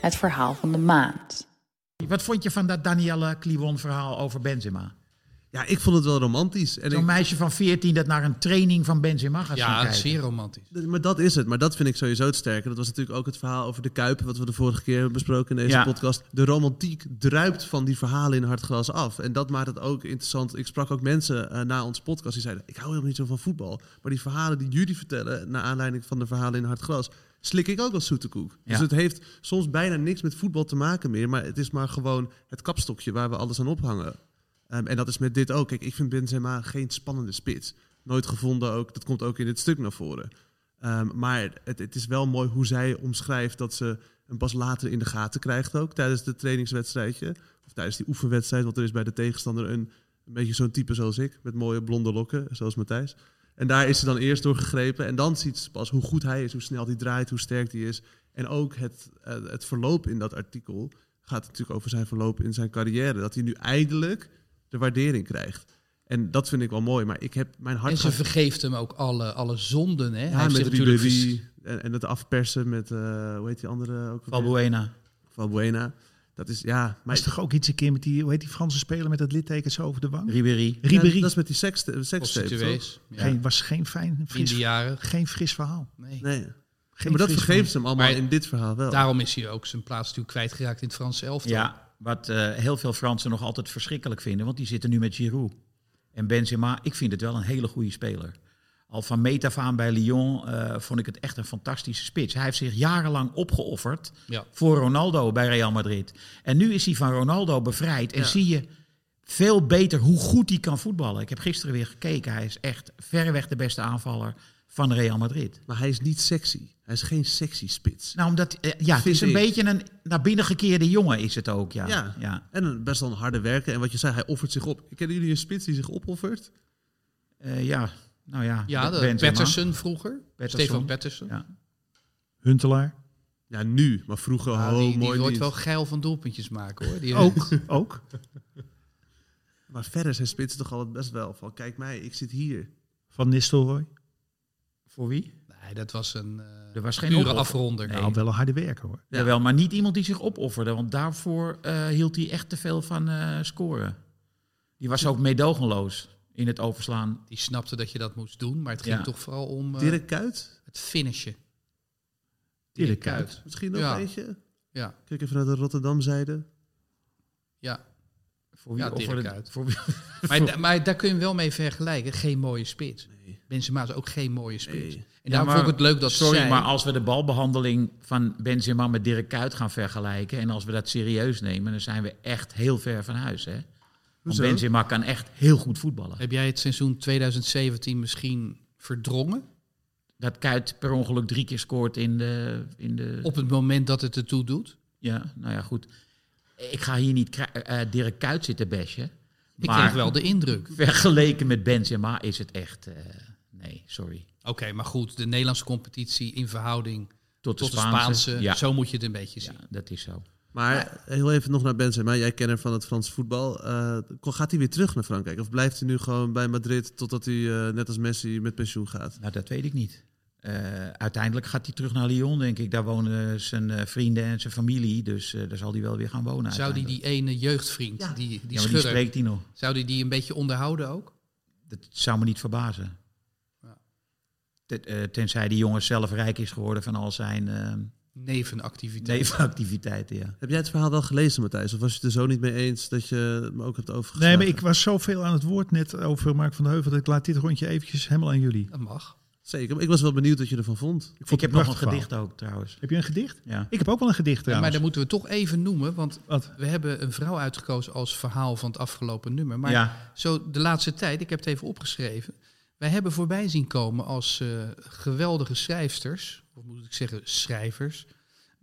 Speaker 6: Het verhaal van de maand.
Speaker 1: Wat vond je van dat Danielle Kliwon verhaal over Benzema?
Speaker 5: Ja, ik vond het wel romantisch. En
Speaker 1: Zo'n
Speaker 5: ik,
Speaker 1: meisje van 14 dat naar een training van Benzema gaat gaan
Speaker 3: Ja,
Speaker 1: kijken.
Speaker 3: zeer romantisch.
Speaker 5: maar dat is het. Maar dat vind ik sowieso het sterke. Dat was natuurlijk ook het verhaal over de Kuip, wat we de vorige keer hebben besproken in deze
Speaker 1: Ja.
Speaker 5: podcast. De romantiek druipt van die verhalen in hartglas af. En dat maakt het ook interessant. Ik sprak ook mensen eh, na onze podcast die zeiden, ik hou helemaal niet zo van voetbal. Maar die verhalen die jullie vertellen, naar aanleiding van de verhalen in hartglas, slik ik ook als zoete koek. Dus
Speaker 1: Ja.
Speaker 5: het heeft soms bijna niks met voetbal te maken meer. Maar het is maar gewoon het kapstokje waar we alles aan ophangen. Ehm, en dat is met dit ook. Kijk, ik vind Benzema geen spannende spits. Nooit gevonden ook. Dat komt ook in dit stuk naar voren. Ehm, maar het, het is wel mooi hoe zij omschrijft dat ze hem pas later in de gaten krijgt ook. Tijdens de trainingswedstrijdje. Of tijdens die oefenwedstrijd. Want er is bij de tegenstander een, een beetje zo'n type zoals ik. Met mooie blonde lokken, zoals Matthijs. En daar is ze dan eerst door gegrepen. En dan ziet ze pas hoe goed hij is, hoe snel hij draait, hoe sterk hij is. En ook het, eh, het verloop in dat artikel gaat natuurlijk over zijn verloop in zijn carrière. Dat hij nu eindelijk de waardering krijgt. En dat vind ik wel mooi. Maar ik heb mijn hart...
Speaker 3: En ze
Speaker 5: gaat-
Speaker 3: vergeeft hem ook alle, alle zonden. Hè?
Speaker 5: ja,
Speaker 3: heeft
Speaker 5: met
Speaker 3: zich natuurlijk
Speaker 5: Ribéry en, en het afpersen met, eh, hoe heet die andere ook? alweer?
Speaker 1: Valbuena.
Speaker 5: Valbuena. Dat is, ja...
Speaker 4: Maar
Speaker 5: Maar
Speaker 4: is toch ook iets een keer met die, hoe heet die Franse speler met dat litteken zo over de wang?
Speaker 1: Ribéry.
Speaker 5: Ja,
Speaker 4: Ribéry.
Speaker 5: dat is met die seks- eh, sekstape, toch?
Speaker 3: prostituees. Ja.
Speaker 4: Geen- was geen fijn, fris,
Speaker 3: Indiaren.
Speaker 4: geen fris verhaal.
Speaker 3: Nee.
Speaker 5: Nee. Ja,
Speaker 4: Geen
Speaker 5: maar dat
Speaker 4: fris
Speaker 5: vergeeft ze hem allemaal
Speaker 3: Maar-
Speaker 5: in dit verhaal wel.
Speaker 3: Daarom is hij ook zijn plaats natuurlijk kwijtgeraakt in het Franse elftal.
Speaker 1: Ja, wat eh, heel veel Fransen nog altijd verschrikkelijk vinden, want die zitten nu met Giroud. En Benzema, ik vind het wel een hele goede speler. Al van meet af aan bij Lyon eh, vond ik het echt een fantastische spits. Hij heeft zich jarenlang opgeofferd
Speaker 3: Ja.
Speaker 1: voor Ronaldo bij Real Madrid. En nu is hij van Ronaldo bevrijd en zie je veel beter hoe goed hij kan voetballen. Ik heb gisteren weer gekeken, hij is echt verreweg de beste aanvaller van Real Madrid.
Speaker 5: Maar hij is niet sexy. Hij is geen sexy spits.
Speaker 1: Nou, omdat, eh, ja, het
Speaker 5: Vind
Speaker 1: is een
Speaker 5: ik.
Speaker 1: beetje een naar binnen gekeerde jongen is het ook, ja.
Speaker 5: Ja.
Speaker 1: ja.
Speaker 5: En een- best wel een harde werker. En wat je zei, hij offert zich op. Kennen jullie een spits die zich opoffert?
Speaker 1: Eh, ja, nou ja.
Speaker 3: Ja, de
Speaker 1: Benzema.
Speaker 3: Patterson vroeger.
Speaker 1: Patterson.
Speaker 3: Stefan Patterson.
Speaker 1: Ja.
Speaker 4: Huntelaar.
Speaker 5: Ja, nu. Maar vroeger,
Speaker 3: Ah,
Speaker 5: oh,
Speaker 3: die, die
Speaker 5: mooi
Speaker 3: wordt
Speaker 5: niet.
Speaker 3: wel geil van doelpuntjes maken hoor. Die
Speaker 4: Ook, ook.
Speaker 5: Maar verder zijn spitsen toch altijd best wel van... Kijk mij, ik zit hier.
Speaker 4: Van Nistelrooy.
Speaker 1: Voor wie?
Speaker 3: Nee, dat was een eh
Speaker 1: Er was geen
Speaker 3: pure
Speaker 1: ophef.
Speaker 3: afronder.
Speaker 1: Nee.
Speaker 4: Nou, wel een harde werker hoor.
Speaker 5: Ja.
Speaker 1: Jawel, maar niet iemand die zich opofferde. Want daarvoor eh, hield hij echt te veel van eh, scoren. Die was ook meedogenloos in het overslaan.
Speaker 3: Die snapte dat je dat moest doen, maar het ging
Speaker 1: Ja.
Speaker 3: toch vooral om eh,
Speaker 5: Dirk Kuyt?
Speaker 3: het finishen.
Speaker 4: Dirk
Speaker 3: Kuyt.
Speaker 5: Misschien nog
Speaker 3: Ja.
Speaker 5: eentje?
Speaker 3: Ja.
Speaker 5: Kijk even naar de Rotterdamzijde.
Speaker 3: Ja,
Speaker 1: Voor wie
Speaker 3: Ja,
Speaker 1: offerde-
Speaker 3: Dirk uit.
Speaker 1: Voor wie,
Speaker 3: maar, da- maar daar kun je hem wel mee vergelijken. Geen mooie spits. Benzema is ook geen mooie spits. En daarom
Speaker 1: maar-
Speaker 3: vond ik het leuk dat
Speaker 1: sorry,
Speaker 3: zij...
Speaker 1: maar als we de balbehandeling van Benzema met Dirk Kuyt gaan vergelijken... en als we dat serieus nemen, dan zijn we echt heel ver van huis, hè? Want
Speaker 5: Hoezo?
Speaker 1: Benzema kan echt heel goed voetballen.
Speaker 3: Heb jij het seizoen 2017 misschien verdrongen?
Speaker 1: Dat Kuyt per ongeluk drie keer scoort in de... In de
Speaker 3: Op het moment dat het ertoe doet?
Speaker 1: Ja, nou ja, goed. Ik ga hier niet kra- eh, Dirk Kuyt zitten bashen.
Speaker 3: Ik
Speaker 1: Maar-
Speaker 3: kreeg wel de indruk.
Speaker 1: Vergeleken met Benzema is het echt... eh, nee, sorry.
Speaker 3: Oké, maar goed. De Nederlandse competitie in verhouding
Speaker 1: Tot de
Speaker 3: tot de
Speaker 1: Spaanse.
Speaker 3: Spaanse.
Speaker 1: ja.
Speaker 3: Zo moet je het een beetje zien.
Speaker 1: ja, dat is zo.
Speaker 5: Maar heel even nog naar Benzema. Jij kenner van het Franse voetbal. Eh, gaat hij weer terug naar Frankrijk? Of blijft hij nu gewoon bij Madrid totdat hij, eh, net als Messi, met pensioen gaat?
Speaker 1: Nou, dat weet ik niet. Eh, uiteindelijk gaat hij terug naar Lyon, denk ik. Daar wonen zijn eh, vrienden en zijn familie. Dus eh, daar zal hij wel weer gaan wonen.
Speaker 3: Zou die die ene jeugdvriend, die, die
Speaker 1: die, ja, maar die
Speaker 3: schurk,
Speaker 1: spreekt hij nog.
Speaker 3: zou die die een beetje onderhouden ook?
Speaker 1: Dat zou me niet verbazen. Ten- eh, tenzij die jongen zelf rijk is geworden van al zijn eh,
Speaker 3: Nevenactiviteit.
Speaker 1: nevenactiviteiten. Ja.
Speaker 5: Heb jij het verhaal wel gelezen, Matthijs? Of was je het er zo niet mee eens dat je het me ook hebt overgeslagen?
Speaker 4: Nee, maar ik was zoveel aan het woord net over Mark van de Heuvel... dat ik laat dit rondje eventjes helemaal aan jullie.
Speaker 3: Dat mag.
Speaker 5: Zeker, maar ik was wel benieuwd wat je ervan vond.
Speaker 4: Ik, vond
Speaker 1: Ik
Speaker 4: het
Speaker 1: heb nog een
Speaker 4: prachtig verhaal.
Speaker 1: gedicht ook, trouwens.
Speaker 4: Heb je een gedicht?
Speaker 1: Ja.
Speaker 4: Ik heb ook wel een
Speaker 3: Ja,
Speaker 4: gedicht
Speaker 3: maar
Speaker 4: trouwens.
Speaker 3: dat moeten we toch even noemen, want
Speaker 4: Wat?
Speaker 3: we hebben een vrouw uitgekozen als verhaal van het afgelopen nummer. Maar
Speaker 1: Ja.
Speaker 3: zo de laatste tijd, ik heb het even opgeschreven. Wij hebben voorbij zien komen als eh, geweldige schrijfsters, of moet ik zeggen schrijvers.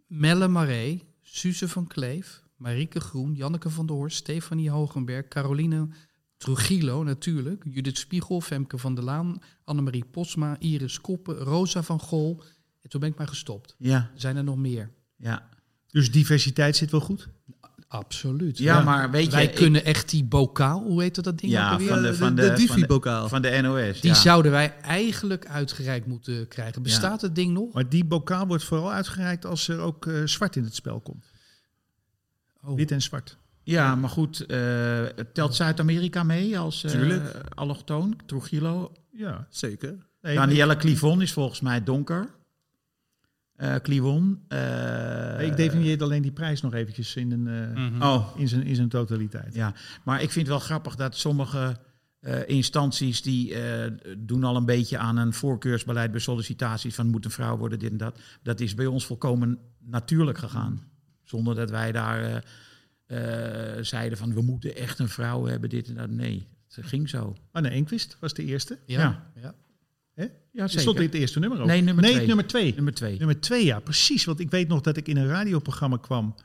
Speaker 3: Melle Marais, Suze van Kleef, Marieke Groen, Janneke van der Horst, Stefanie Hogenberg, Caroline Trujillo natuurlijk, Judith Spiegel, Femke van der Laan, Annemarie Posma, Iris Koppen, Rosa van Gol. En toen ben ik maar gestopt.
Speaker 1: Ja,
Speaker 3: Zijn er nog meer?
Speaker 1: ja.
Speaker 4: Dus diversiteit zit wel goed?
Speaker 3: Absoluut.
Speaker 1: ja, maar weet je...
Speaker 3: Wij
Speaker 1: ik-
Speaker 3: kunnen echt die bokaal, hoe heet dat, dat ding? ook
Speaker 1: ja,
Speaker 3: alweer? Eh,
Speaker 1: van de, van
Speaker 5: de-
Speaker 1: de,
Speaker 5: de Divi-bokaal.
Speaker 1: Van de, van de NOS.
Speaker 3: die
Speaker 1: ja.
Speaker 3: zouden wij eigenlijk uitgereikt moeten krijgen. Bestaat het ding nog?
Speaker 4: Maar die bokaal wordt vooral uitgereikt als er ook eh, zwart in het spel komt.
Speaker 3: Oh.
Speaker 4: Wit en zwart.
Speaker 1: Ja, maar goed, eh, telt Zuid-Amerika mee als eh
Speaker 5: Tuurlijk.
Speaker 1: allochtoon? Trujillo?
Speaker 4: Ja.
Speaker 5: Zeker.
Speaker 4: Nee,
Speaker 1: Daniela Clivon is volgens mij donker. Eh Clivon. eh,
Speaker 4: nee, Eh, ik definieer alleen die prijs nog eventjes in, een, eh,
Speaker 1: Oh,
Speaker 4: in, zijn, in zijn totaliteit.
Speaker 1: ja. Maar ik vind het wel grappig dat sommige eh, instanties... die eh, doen al een beetje aan een voorkeursbeleid bij sollicitaties... van moet een vrouw worden, dit en dat. Dat is bij ons volkomen natuurlijk gegaan. Zonder dat wij daar eh, eh, zeiden van... we moeten echt een vrouw hebben, dit en dat. Nee, het ging zo.
Speaker 4: Anne Ah, Enquist was de eerste.
Speaker 3: Ja.
Speaker 1: Oh,
Speaker 3: ja.
Speaker 1: Ja,
Speaker 4: Ze Stond in het eerste nummer ook?
Speaker 1: Nee, nummer twee.
Speaker 4: Nee, nummer twee.
Speaker 1: Nummer twee.
Speaker 4: Nummer twee, ja, precies. Want ik weet nog dat ik in een radioprogramma kwam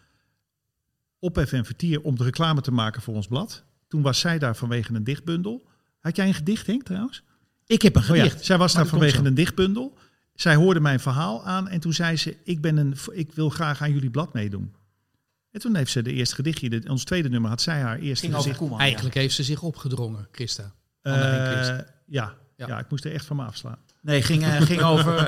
Speaker 4: op FM Vertier om de reclame te maken voor ons blad. Toen was zij daar vanwege een dichtbundel. Had jij een gedicht, Henk, trouwens?
Speaker 1: Ik heb een
Speaker 4: Oh ja,
Speaker 1: gedicht.
Speaker 4: zij was
Speaker 1: Maar
Speaker 4: daar
Speaker 1: dat komt
Speaker 4: vanwege
Speaker 1: zo.
Speaker 4: een dichtbundel. Zij hoorde mijn verhaal aan en toen zei ze: ik, ben een, ik wil graag aan jullie blad meedoen. En toen heeft ze de eerste gedichtje, dit- ons tweede nummer, had zij haar eerste
Speaker 1: Ging over
Speaker 4: gedicht.
Speaker 1: Koeman, ja.
Speaker 3: Eigenlijk heeft ze zich opgedrongen, Christa.
Speaker 4: Eh,
Speaker 3: Anne Enquist.
Speaker 4: ja,
Speaker 3: Ja.
Speaker 4: ja. ik moest er echt van me afslaan.
Speaker 1: Nee, ging, eh, ging, over,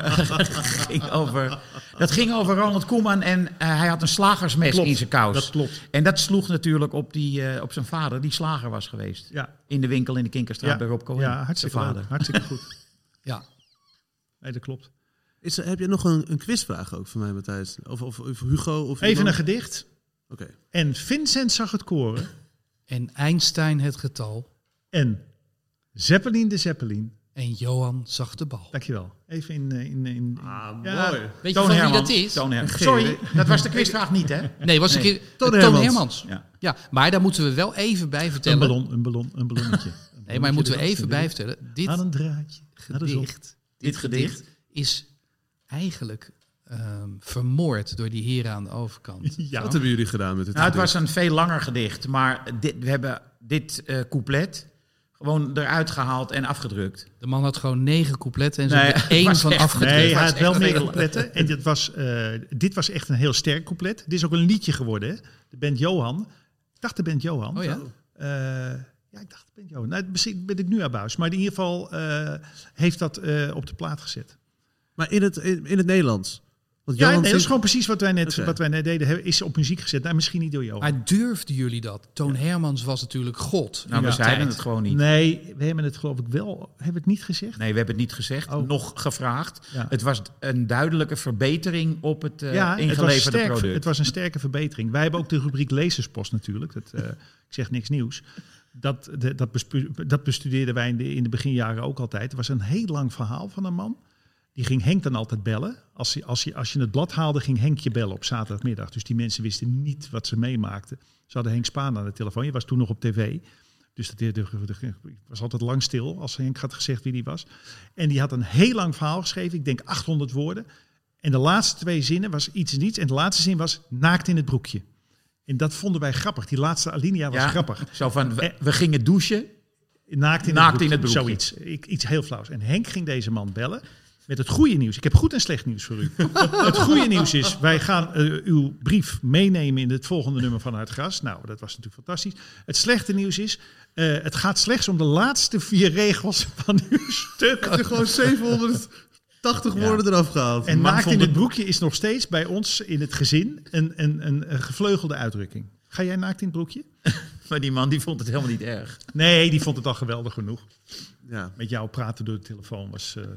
Speaker 1: ging over. Dat ging over Ronald Koeman en eh, hij had een slagersmes
Speaker 4: Klopt,
Speaker 1: in zijn kous.
Speaker 4: Dat klopt.
Speaker 1: En dat sloeg natuurlijk op, die, eh, op zijn vader, die slager was geweest.
Speaker 4: Ja,
Speaker 1: In de winkel in de Kinkerstraat
Speaker 4: ja,
Speaker 1: bij Rob Cohen.
Speaker 4: ja hartstikke,
Speaker 1: zijn
Speaker 4: leuk,
Speaker 1: vader.
Speaker 4: hartstikke goed.
Speaker 3: Ja.
Speaker 4: Nee, dat klopt.
Speaker 5: Is, er- heb je nog een, een quizvraag ook voor mij, Matthijs? Of, of, of Hugo? Of
Speaker 4: Even een
Speaker 5: iemand?
Speaker 4: gedicht.
Speaker 5: Oké.
Speaker 4: En Vincent zag het koren.
Speaker 3: En Einstein het getal
Speaker 4: En Zeppelin de Zeppelin.
Speaker 3: en Johan zag de bal.
Speaker 4: Dankjewel. Even in... eh, in, in
Speaker 5: Ah,
Speaker 4: Ja.
Speaker 5: mooi.
Speaker 3: Weet je
Speaker 1: Toon
Speaker 3: van wie
Speaker 1: Hermans.
Speaker 3: dat is?
Speaker 1: Toon Hermans.
Speaker 5: Geen
Speaker 1: Sorry,
Speaker 5: idee.
Speaker 1: dat was de quizvraag niet, hè?
Speaker 3: Nee, was een
Speaker 1: Nee.
Speaker 3: keer
Speaker 5: Toon
Speaker 3: Toon,
Speaker 5: Hermans.
Speaker 3: Hermans.
Speaker 1: Ja.
Speaker 3: Ja, maar daar moeten we wel even bij
Speaker 4: een
Speaker 3: vertellen.
Speaker 4: ballon, een ballon, een ballonnetje.
Speaker 3: nee, maar moeten we even bij vertellen. Dit
Speaker 4: Aan een draadje. naar de zon.
Speaker 3: gedicht, dit gedicht is eigenlijk ehm, vermoord door die heren aan de overkant.
Speaker 4: Ja.
Speaker 5: Wat hebben jullie gedaan met het
Speaker 1: Nou, het
Speaker 5: gedicht?
Speaker 1: was een veel langer gedicht, maar dit, we hebben dit eh, couplet gewoon eruit gehaald en afgedrukt.
Speaker 3: De man had gewoon negen coupletten en ze
Speaker 1: Nee,
Speaker 3: hebben er
Speaker 1: het
Speaker 3: één
Speaker 1: was
Speaker 3: van
Speaker 1: echt-
Speaker 3: afgedrukt.
Speaker 4: Nee, hij
Speaker 3: Het was
Speaker 4: had wel
Speaker 3: echt
Speaker 4: meer
Speaker 3: veel.
Speaker 4: coupletten. En dit was, eh, dit was echt een heel sterk couplet. Dit is ook een liedje geworden. Hè? De band Johan. Ik dacht de band Johan.
Speaker 3: Oh ja?
Speaker 4: Eh, ja, ik dacht de band Johan. Nou, misschien ben ik nu aan buis. Maar in ieder geval eh, heeft dat eh, op de plaat gezet.
Speaker 5: Maar in het, in, in het Nederlands? Want
Speaker 4: Ja,
Speaker 5: Johan
Speaker 4: nee, dat is
Speaker 5: zingt-
Speaker 4: gewoon precies wat wij net,
Speaker 5: Oké.
Speaker 4: wat wij net deden. Hebben, is op muziek gezet. Nou, misschien niet door jou.
Speaker 3: Maar durfden jullie dat? Toon Hermans was natuurlijk god. in
Speaker 1: Nou, we
Speaker 3: die
Speaker 1: zeiden
Speaker 3: tijd.
Speaker 1: het gewoon niet.
Speaker 4: Nee, we hebben het geloof ik wel. Hebben we het niet gezegd?
Speaker 1: Nee, we hebben het niet gezegd,
Speaker 4: Oh.
Speaker 1: nog gevraagd.
Speaker 4: Ja.
Speaker 1: Het was een duidelijke verbetering op het eh,
Speaker 4: ja, het was,
Speaker 1: ingeleverde
Speaker 4: sterk,
Speaker 1: product.
Speaker 4: het was een sterke verbetering. Wij hebben ook de rubriek lezerspost natuurlijk. Dat, eh, ik zeg niks nieuws. Dat, de- dat, bespu- dat bestudeerden wij in de, in de beginjaren ook altijd. Het was een heel lang verhaal van een man. Die ging Henk dan altijd bellen. Als, hij, als, hij, als je het blad haalde, ging Henk je bellen op zaterdagmiddag. Dus die mensen wisten niet wat ze meemaakten. Ze hadden Henk Spaan aan de telefoon. Je was toen nog op tv. Dus dat, de- de- de- ik was altijd lang stil als Henk had gezegd wie die was. En die had een heel lang verhaal geschreven. Ik denk 800 woorden. En de laatste twee zinnen was iets en niets. En de laatste zin was naakt in het broekje. En dat vonden wij grappig. Die laatste alinea was
Speaker 1: Ja.
Speaker 4: grappig.
Speaker 1: Zo van, we, we gingen douchen.
Speaker 4: Naakt in
Speaker 1: Naakt
Speaker 4: het,
Speaker 1: in het broekje.
Speaker 4: Zoiets. Ik, iets heel flauws. En Henk ging deze man bellen met het goede nieuws. Ik heb goed en slecht nieuws voor u. het goede nieuws is, wij gaan eh, uw brief meenemen in het volgende nummer van Het Gras. Nou, dat was natuurlijk fantastisch. Het slechte nieuws is, eh, het gaat slechts om de laatste vier regels van uw stuk.
Speaker 5: Had je gewoon 780
Speaker 4: Ja.
Speaker 5: woorden eraf gehaald.
Speaker 4: En
Speaker 1: man
Speaker 4: naakt in
Speaker 1: vond
Speaker 4: het
Speaker 1: het-
Speaker 4: broekje is nog steeds bij ons in het gezin een, een, een, een gevleugelde uitdrukking. Ga jij naakt in het broekje?
Speaker 1: Maar die man die vond het helemaal niet erg.
Speaker 4: Nee, die vond het al geweldig genoeg.
Speaker 1: Nou,
Speaker 5: Ja.
Speaker 4: Met jou praten door de telefoon was eh medisch,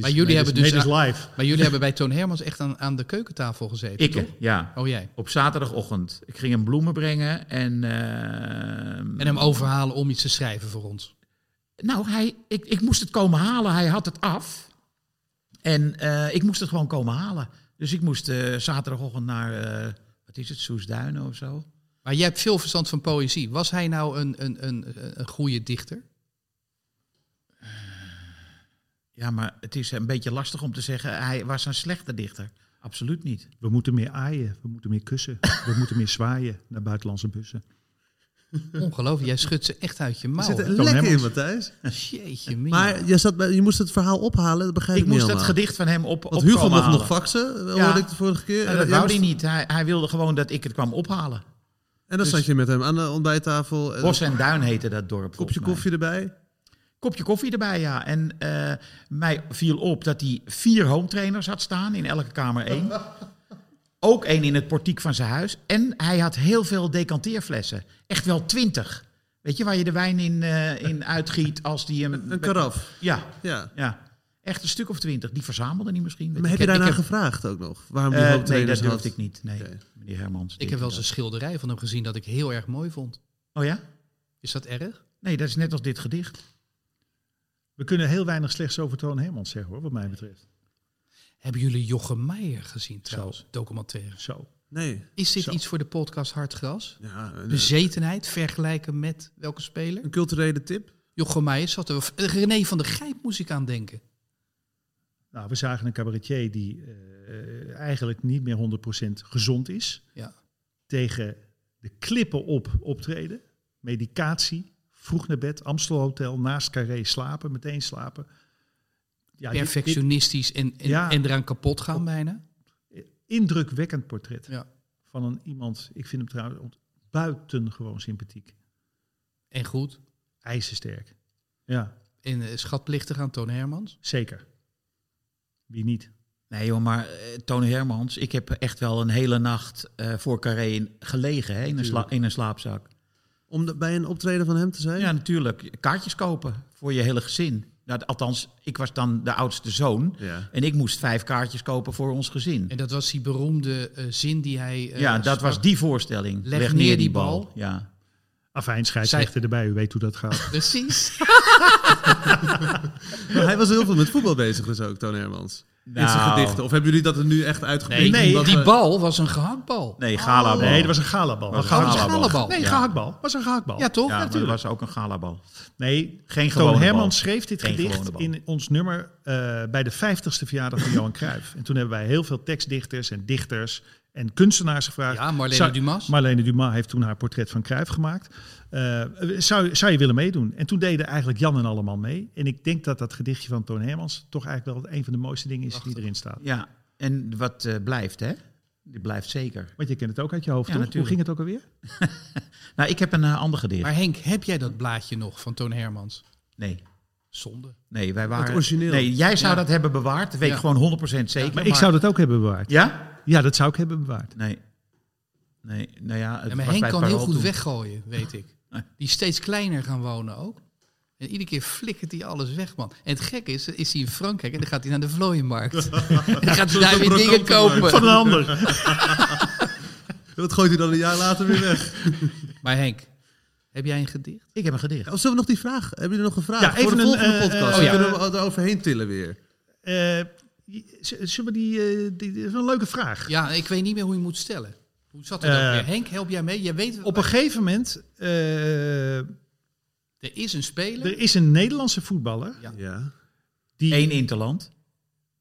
Speaker 3: Maar jullie
Speaker 4: medisch-
Speaker 3: hebben dus-
Speaker 4: medisch live.
Speaker 3: Maar jullie hebben bij Toon Hermans echt aan, aan de keukentafel gezeten,
Speaker 1: Ik,
Speaker 3: toch?
Speaker 1: ja.
Speaker 3: Oh, jij.
Speaker 1: Op zaterdagochtend. Ik ging hem bloemen brengen en... ehm,
Speaker 3: En hem overhalen om iets te schrijven voor ons.
Speaker 1: Nou, hij, ik, ik moest het komen halen. Hij had het af. En eh, ik moest het gewoon komen halen. Dus ik moest eh, zaterdagochtend naar, eh, wat is het, Soesduinen of zo.
Speaker 3: Maar jij hebt veel verstand van poëzie. Was hij nou een, een, een, een goede dichter?
Speaker 1: Ja, maar het is een beetje lastig om te zeggen, hij was een slechte dichter. Absoluut niet.
Speaker 4: We moeten meer aaien, we moeten meer kussen, we moeten meer zwaaien naar buitenlandse bussen.
Speaker 3: Ongelooflijk, jij schudt ze echt uit je
Speaker 5: Er
Speaker 3: mouw.
Speaker 5: zit
Speaker 3: hè?
Speaker 5: een lek in,
Speaker 4: Hermans.
Speaker 5: Matthijs.
Speaker 3: Jeetje, mina.
Speaker 5: Maar je, zat bij, je moest het verhaal ophalen, dat begrijp ik,
Speaker 1: Ik moest
Speaker 5: niet
Speaker 1: dat
Speaker 5: helemaal.
Speaker 1: gedicht van hem op
Speaker 5: eh. Want
Speaker 1: opkomen
Speaker 5: Hugo mocht
Speaker 1: halen.
Speaker 5: nog faxen, eh,
Speaker 1: Ja.
Speaker 5: hoorde ik de vorige keer. dus-
Speaker 1: Maar dat
Speaker 5: jij
Speaker 1: wou
Speaker 5: moest-
Speaker 1: hij niet. Hij, hij wilde gewoon dat ik het kwam ophalen.
Speaker 5: en dan
Speaker 1: Dus-
Speaker 5: zat je met hem aan de ontbijttafel. en
Speaker 1: Bos en Duin heette dat dorp. volgens
Speaker 5: kopje
Speaker 1: mij.
Speaker 5: koffie erbij.
Speaker 1: Kopje koffie erbij, ja. En eh, mij viel op dat hij vier home trainers had staan in elke kamer één. Ook één in het portiek van zijn huis. En hij had heel veel decanteerflessen. Echt wel twintig. Weet je, waar je de wijn in, eh, in uitgiet als die
Speaker 4: Eh,
Speaker 1: hem...
Speaker 5: Een karaf.
Speaker 1: Ja,
Speaker 5: Ja.
Speaker 1: ja. Echt een stuk of twintig. Die verzamelde hij misschien. weet
Speaker 5: Maar heb
Speaker 1: ik.
Speaker 5: je
Speaker 3: heb-
Speaker 5: daarna
Speaker 3: ik heb-
Speaker 5: gevraagd ook nog? Waarom die
Speaker 1: Eh,
Speaker 5: hoop
Speaker 1: nee,
Speaker 5: trainers
Speaker 1: dat durfde
Speaker 5: had?
Speaker 1: ik niet. Nee,
Speaker 5: Oké.
Speaker 1: meneer Hermans.
Speaker 3: ik heb wel eens een schilderij van hem gezien dat ik heel erg mooi vond.
Speaker 1: Oh ja?
Speaker 3: Is dat erg?
Speaker 1: Nee, dat is net als dit gedicht.
Speaker 4: We kunnen heel weinig slechts over Toon Hermans zeggen hoor, wat mij betreft.
Speaker 3: Hebben jullie Jochem Meijer gezien trouwens? Documentaire.
Speaker 4: Zo.
Speaker 5: Nee.
Speaker 3: Is dit
Speaker 4: Zo.
Speaker 3: iets voor de podcast Hartgras?
Speaker 5: Ja, een,
Speaker 3: Bezetenheid vergelijken met welke speler?
Speaker 5: een culturele tip.
Speaker 3: Jochem Meijer zat er. of, eh, René van der Gijp moest ik aan denken.
Speaker 4: Nou, we zagen een cabaretier die eh, eigenlijk niet meer 100% gezond is.
Speaker 3: Ja.
Speaker 4: Tegen de klippen op optreden, medicatie, vroeg naar bed, Amstel Hotel, naast Carré slapen, meteen slapen. Ja, dit- dit-
Speaker 3: Perfectionistisch en, en,
Speaker 4: Ja.
Speaker 3: en eraan kapot gaan bijna.
Speaker 4: indrukwekkend portret
Speaker 3: Ja.
Speaker 4: van een iemand. Ik vind hem trouwens ont- buitengewoon sympathiek.
Speaker 3: En goed.
Speaker 4: IJzersterk. Ja,
Speaker 3: En eh, schatplichtig aan Toon Hermans.
Speaker 4: zeker. Wie niet?
Speaker 1: Nee joh, maar eh, Tony Hermans, ik heb echt wel een hele nacht eh, voor Carré in- gelegen hè, in, een sla-
Speaker 4: Tuurlijk.
Speaker 1: in een slaapzak.
Speaker 5: Om de- bij een optreden van hem te zijn?
Speaker 1: Ja, natuurlijk. Kaartjes kopen voor je hele gezin. Nou, althans, ik was dan de oudste zoon.
Speaker 5: Ja.
Speaker 1: En ik moest vijf kaartjes kopen voor ons gezin.
Speaker 3: En dat was die beroemde eh, zin die hij. eh,
Speaker 1: ja, dat
Speaker 3: sprak.
Speaker 1: was die voorstelling.
Speaker 3: Leg neer die bal.
Speaker 1: Ja.
Speaker 4: Afijn, scheidsrechter
Speaker 3: Zij-
Speaker 4: erbij, u weet hoe dat gaat.
Speaker 3: Precies.
Speaker 5: Maar hij was heel veel met voetbal bezig dus ook, Toon Hermans. In zijn
Speaker 1: Nou.
Speaker 5: gedichten. Of hebben jullie dat er nu echt uitgeprobeerd?
Speaker 3: Nee,
Speaker 4: Nee,
Speaker 3: die,
Speaker 5: Omdat we-
Speaker 3: bal was een gehaktbal.
Speaker 1: Nee, galabal.
Speaker 4: Oh. Nee, dat was een galabal.
Speaker 1: Was een
Speaker 4: Een
Speaker 3: Oh, dat is een
Speaker 1: galabal.
Speaker 3: galabal.
Speaker 4: Nee,
Speaker 1: Ja.
Speaker 4: gehaktbal. Was een gehaktbal.
Speaker 3: Ja, toch?
Speaker 1: Ja, maar dat
Speaker 4: natuurlijk.
Speaker 1: was ook een galabal.
Speaker 4: Nee,
Speaker 1: Geen gewone
Speaker 4: Toon
Speaker 1: bal.
Speaker 4: Hermans schreef dit
Speaker 1: Geen
Speaker 4: gedicht
Speaker 1: gewone bal.
Speaker 4: in ons nummer eh, bij de 50ste verjaardag van Johan Cruijff. En toen hebben wij heel veel tekstdichters en dichters en kunstenaars gevraagd.
Speaker 3: Ja, Marlene Dumas.
Speaker 4: Marlene Dumas heeft toen haar portret van Cruijff gemaakt. Eh, zou, zou je willen meedoen? En toen deden eigenlijk Jan en Alleman mee. En ik denk dat dat gedichtje van Toon Hermans toch eigenlijk wel een van de mooiste dingen is die erin staat.
Speaker 1: Ja, en wat eh, blijft, hè? Die blijft zeker.
Speaker 4: Want je kent het ook uit je hoofd,
Speaker 1: Ja,
Speaker 4: toch?
Speaker 1: natuurlijk.
Speaker 4: Hoe ging het ook alweer?
Speaker 1: Nou, ik heb een eh, ander gedicht.
Speaker 3: Maar Henk, heb jij dat blaadje nog van Toon Hermans?
Speaker 1: Nee.
Speaker 3: Zonde.
Speaker 1: Nee, wij waren...
Speaker 5: origineel.
Speaker 1: Nee, jij zou dat hebben bewaard. Dat weet ik
Speaker 3: Ja.
Speaker 1: gewoon 100% zeker.
Speaker 4: Maar ik zou dat ook hebben bewaard.
Speaker 1: Ja?
Speaker 4: Ja, dat zou ik hebben bewaard.
Speaker 1: Nee. Nee, nou ja... Het
Speaker 3: Ja, maar
Speaker 1: was
Speaker 3: Henk
Speaker 1: bij
Speaker 3: kan heel
Speaker 1: Parool
Speaker 3: goed
Speaker 1: toen.
Speaker 3: weggooien, weet ik. Die is steeds kleiner gaan wonen ook. En iedere keer flikkert hij alles weg, man. En het gekke is, is hij in Frankrijk en dan gaat hij naar de vlooienmarkt. en dan gaat hij daar weer dingen
Speaker 4: Van
Speaker 3: kopen.
Speaker 4: een ander.
Speaker 5: Dat gooit hij dan een jaar later weer weg.
Speaker 3: Maar Henk, heb jij een gedicht?
Speaker 1: Ik heb een gedicht.
Speaker 5: Ja, of zullen we nog die vraag? Hebben jullie nog een vraag?
Speaker 4: Ja,
Speaker 5: Voor
Speaker 4: even
Speaker 5: de
Speaker 4: een,
Speaker 5: volgende
Speaker 4: eh,
Speaker 5: podcast.
Speaker 4: eh,
Speaker 5: Dan
Speaker 4: oh ja.
Speaker 5: kunnen we er overheen tillen weer.
Speaker 4: Eh, z- zullen we die, eh, die, die- dat is een leuke vraag.
Speaker 3: Ja, ik weet niet meer hoe je moet stellen. Hoe zat het
Speaker 4: Eh,
Speaker 3: ook weer? Henk, help jij mee? Jij weet,
Speaker 4: Op een gegeven moment, eh,
Speaker 3: er is een speler.
Speaker 4: er is een Nederlandse voetballer
Speaker 3: Ja.
Speaker 5: Ja.
Speaker 4: die
Speaker 1: Eén Interland.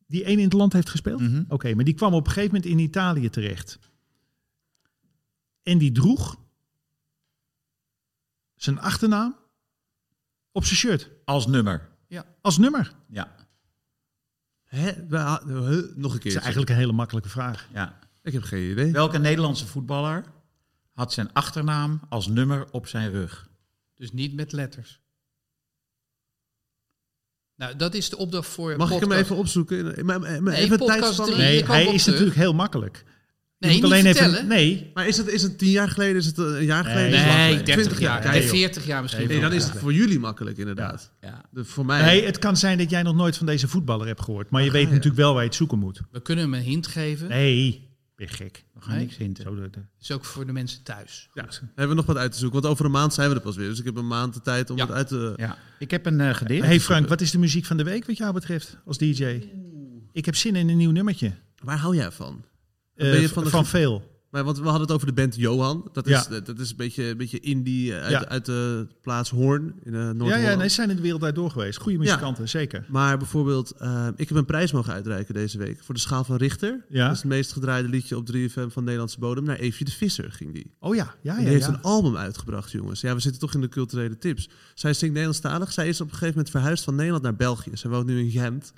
Speaker 4: die één in het land heeft gespeeld?
Speaker 1: Mhm.
Speaker 4: Oké, maar die kwam op een gegeven moment in Italië terecht. En die droeg zijn achternaam op zijn shirt
Speaker 1: Als nummer.
Speaker 4: als nummer.
Speaker 1: Ja,
Speaker 5: Hè? We ha- huh? Nog een
Speaker 4: Dat
Speaker 5: keer.
Speaker 4: is eigenlijk een hele makkelijke vraag.
Speaker 1: ja.
Speaker 5: Ik heb geen idee.
Speaker 1: Welke Nederlandse voetballer had zijn achternaam als nummer op zijn rug?
Speaker 3: Dus niet met letters. Nou, dat is de opdracht voor
Speaker 5: Mag ik hem
Speaker 3: podcast.
Speaker 5: even opzoeken? In- Maar, maar, maar
Speaker 3: Nee,
Speaker 5: even
Speaker 3: podcast
Speaker 5: tijdspanning.
Speaker 3: drie.
Speaker 4: Nee,
Speaker 3: je kwam
Speaker 4: hij
Speaker 3: op
Speaker 4: is
Speaker 3: terug.
Speaker 4: natuurlijk heel makkelijk.
Speaker 3: Nee, niet vertellen.
Speaker 4: Nee,
Speaker 5: Maar is het, is het tien jaar geleden? Is het eh, een jaar geleden?
Speaker 4: Nee,
Speaker 5: Is het lang
Speaker 3: Nee,
Speaker 5: geleden?
Speaker 3: 30
Speaker 5: Twintig
Speaker 3: jaar.
Speaker 5: Ja,
Speaker 3: Nee,
Speaker 5: joh.
Speaker 3: 40 jaar misschien.
Speaker 5: Nee, dan is het voor jullie makkelijk inderdaad.
Speaker 1: Ja.
Speaker 5: De- voor mij.
Speaker 4: nee, het kan zijn dat jij nog nooit van deze voetballer hebt gehoord. Maar je weet
Speaker 5: je.
Speaker 4: natuurlijk wel waar je het zoeken moet.
Speaker 3: We kunnen hem een hint geven.
Speaker 4: Nee, ben je gek.
Speaker 1: We gaan
Speaker 3: Nee.
Speaker 1: niks hinten.
Speaker 4: Zo de, de-
Speaker 3: Dat is ook voor de mensen thuis.
Speaker 5: Ja, dan hebben we nog wat uit te zoeken. Want over een maand zijn we er pas weer. Dus ik heb een maand de tijd om
Speaker 3: Ja.
Speaker 5: het uit te...
Speaker 1: Ja. Ik heb een eh, gedicht.
Speaker 4: Hey Frank, wat is de muziek van de week wat jou betreft als DJ? Ik heb zin in een nieuw nummertje.
Speaker 5: Waar hou jij van?
Speaker 4: Eh,
Speaker 5: ben je
Speaker 4: v-
Speaker 5: van
Speaker 4: van,
Speaker 5: de ge-
Speaker 4: veel.
Speaker 5: Maar, want we hadden het over de band Johan. Dat is,
Speaker 4: Ja.
Speaker 5: dat is een beetje, een beetje indie eh, uit,
Speaker 4: Ja.
Speaker 5: uit de plaats Hoorn in eh noord
Speaker 4: Ja, ja, nee, ze zijn in de wereld daardoor geweest. Goede muzikanten, zeker.
Speaker 5: Maar bijvoorbeeld, eh, ik heb een prijs mogen uitreiken deze week voor de Schaal van Richter.
Speaker 4: Ja.
Speaker 5: Dat is het meest gedraaide liedje op 3FM van Nederlandse bodem. Naar Eefje de Visser ging die.
Speaker 4: Oh ja, ja,
Speaker 5: En
Speaker 4: ja.
Speaker 5: die heeft
Speaker 4: ja.
Speaker 5: een album uitgebracht, jongens. Ja, we zitten toch in de culturele tips. Zij zingt Nederlandstalig. Zij is op een gegeven moment verhuisd van Nederland naar België. Zij woont nu in Gent.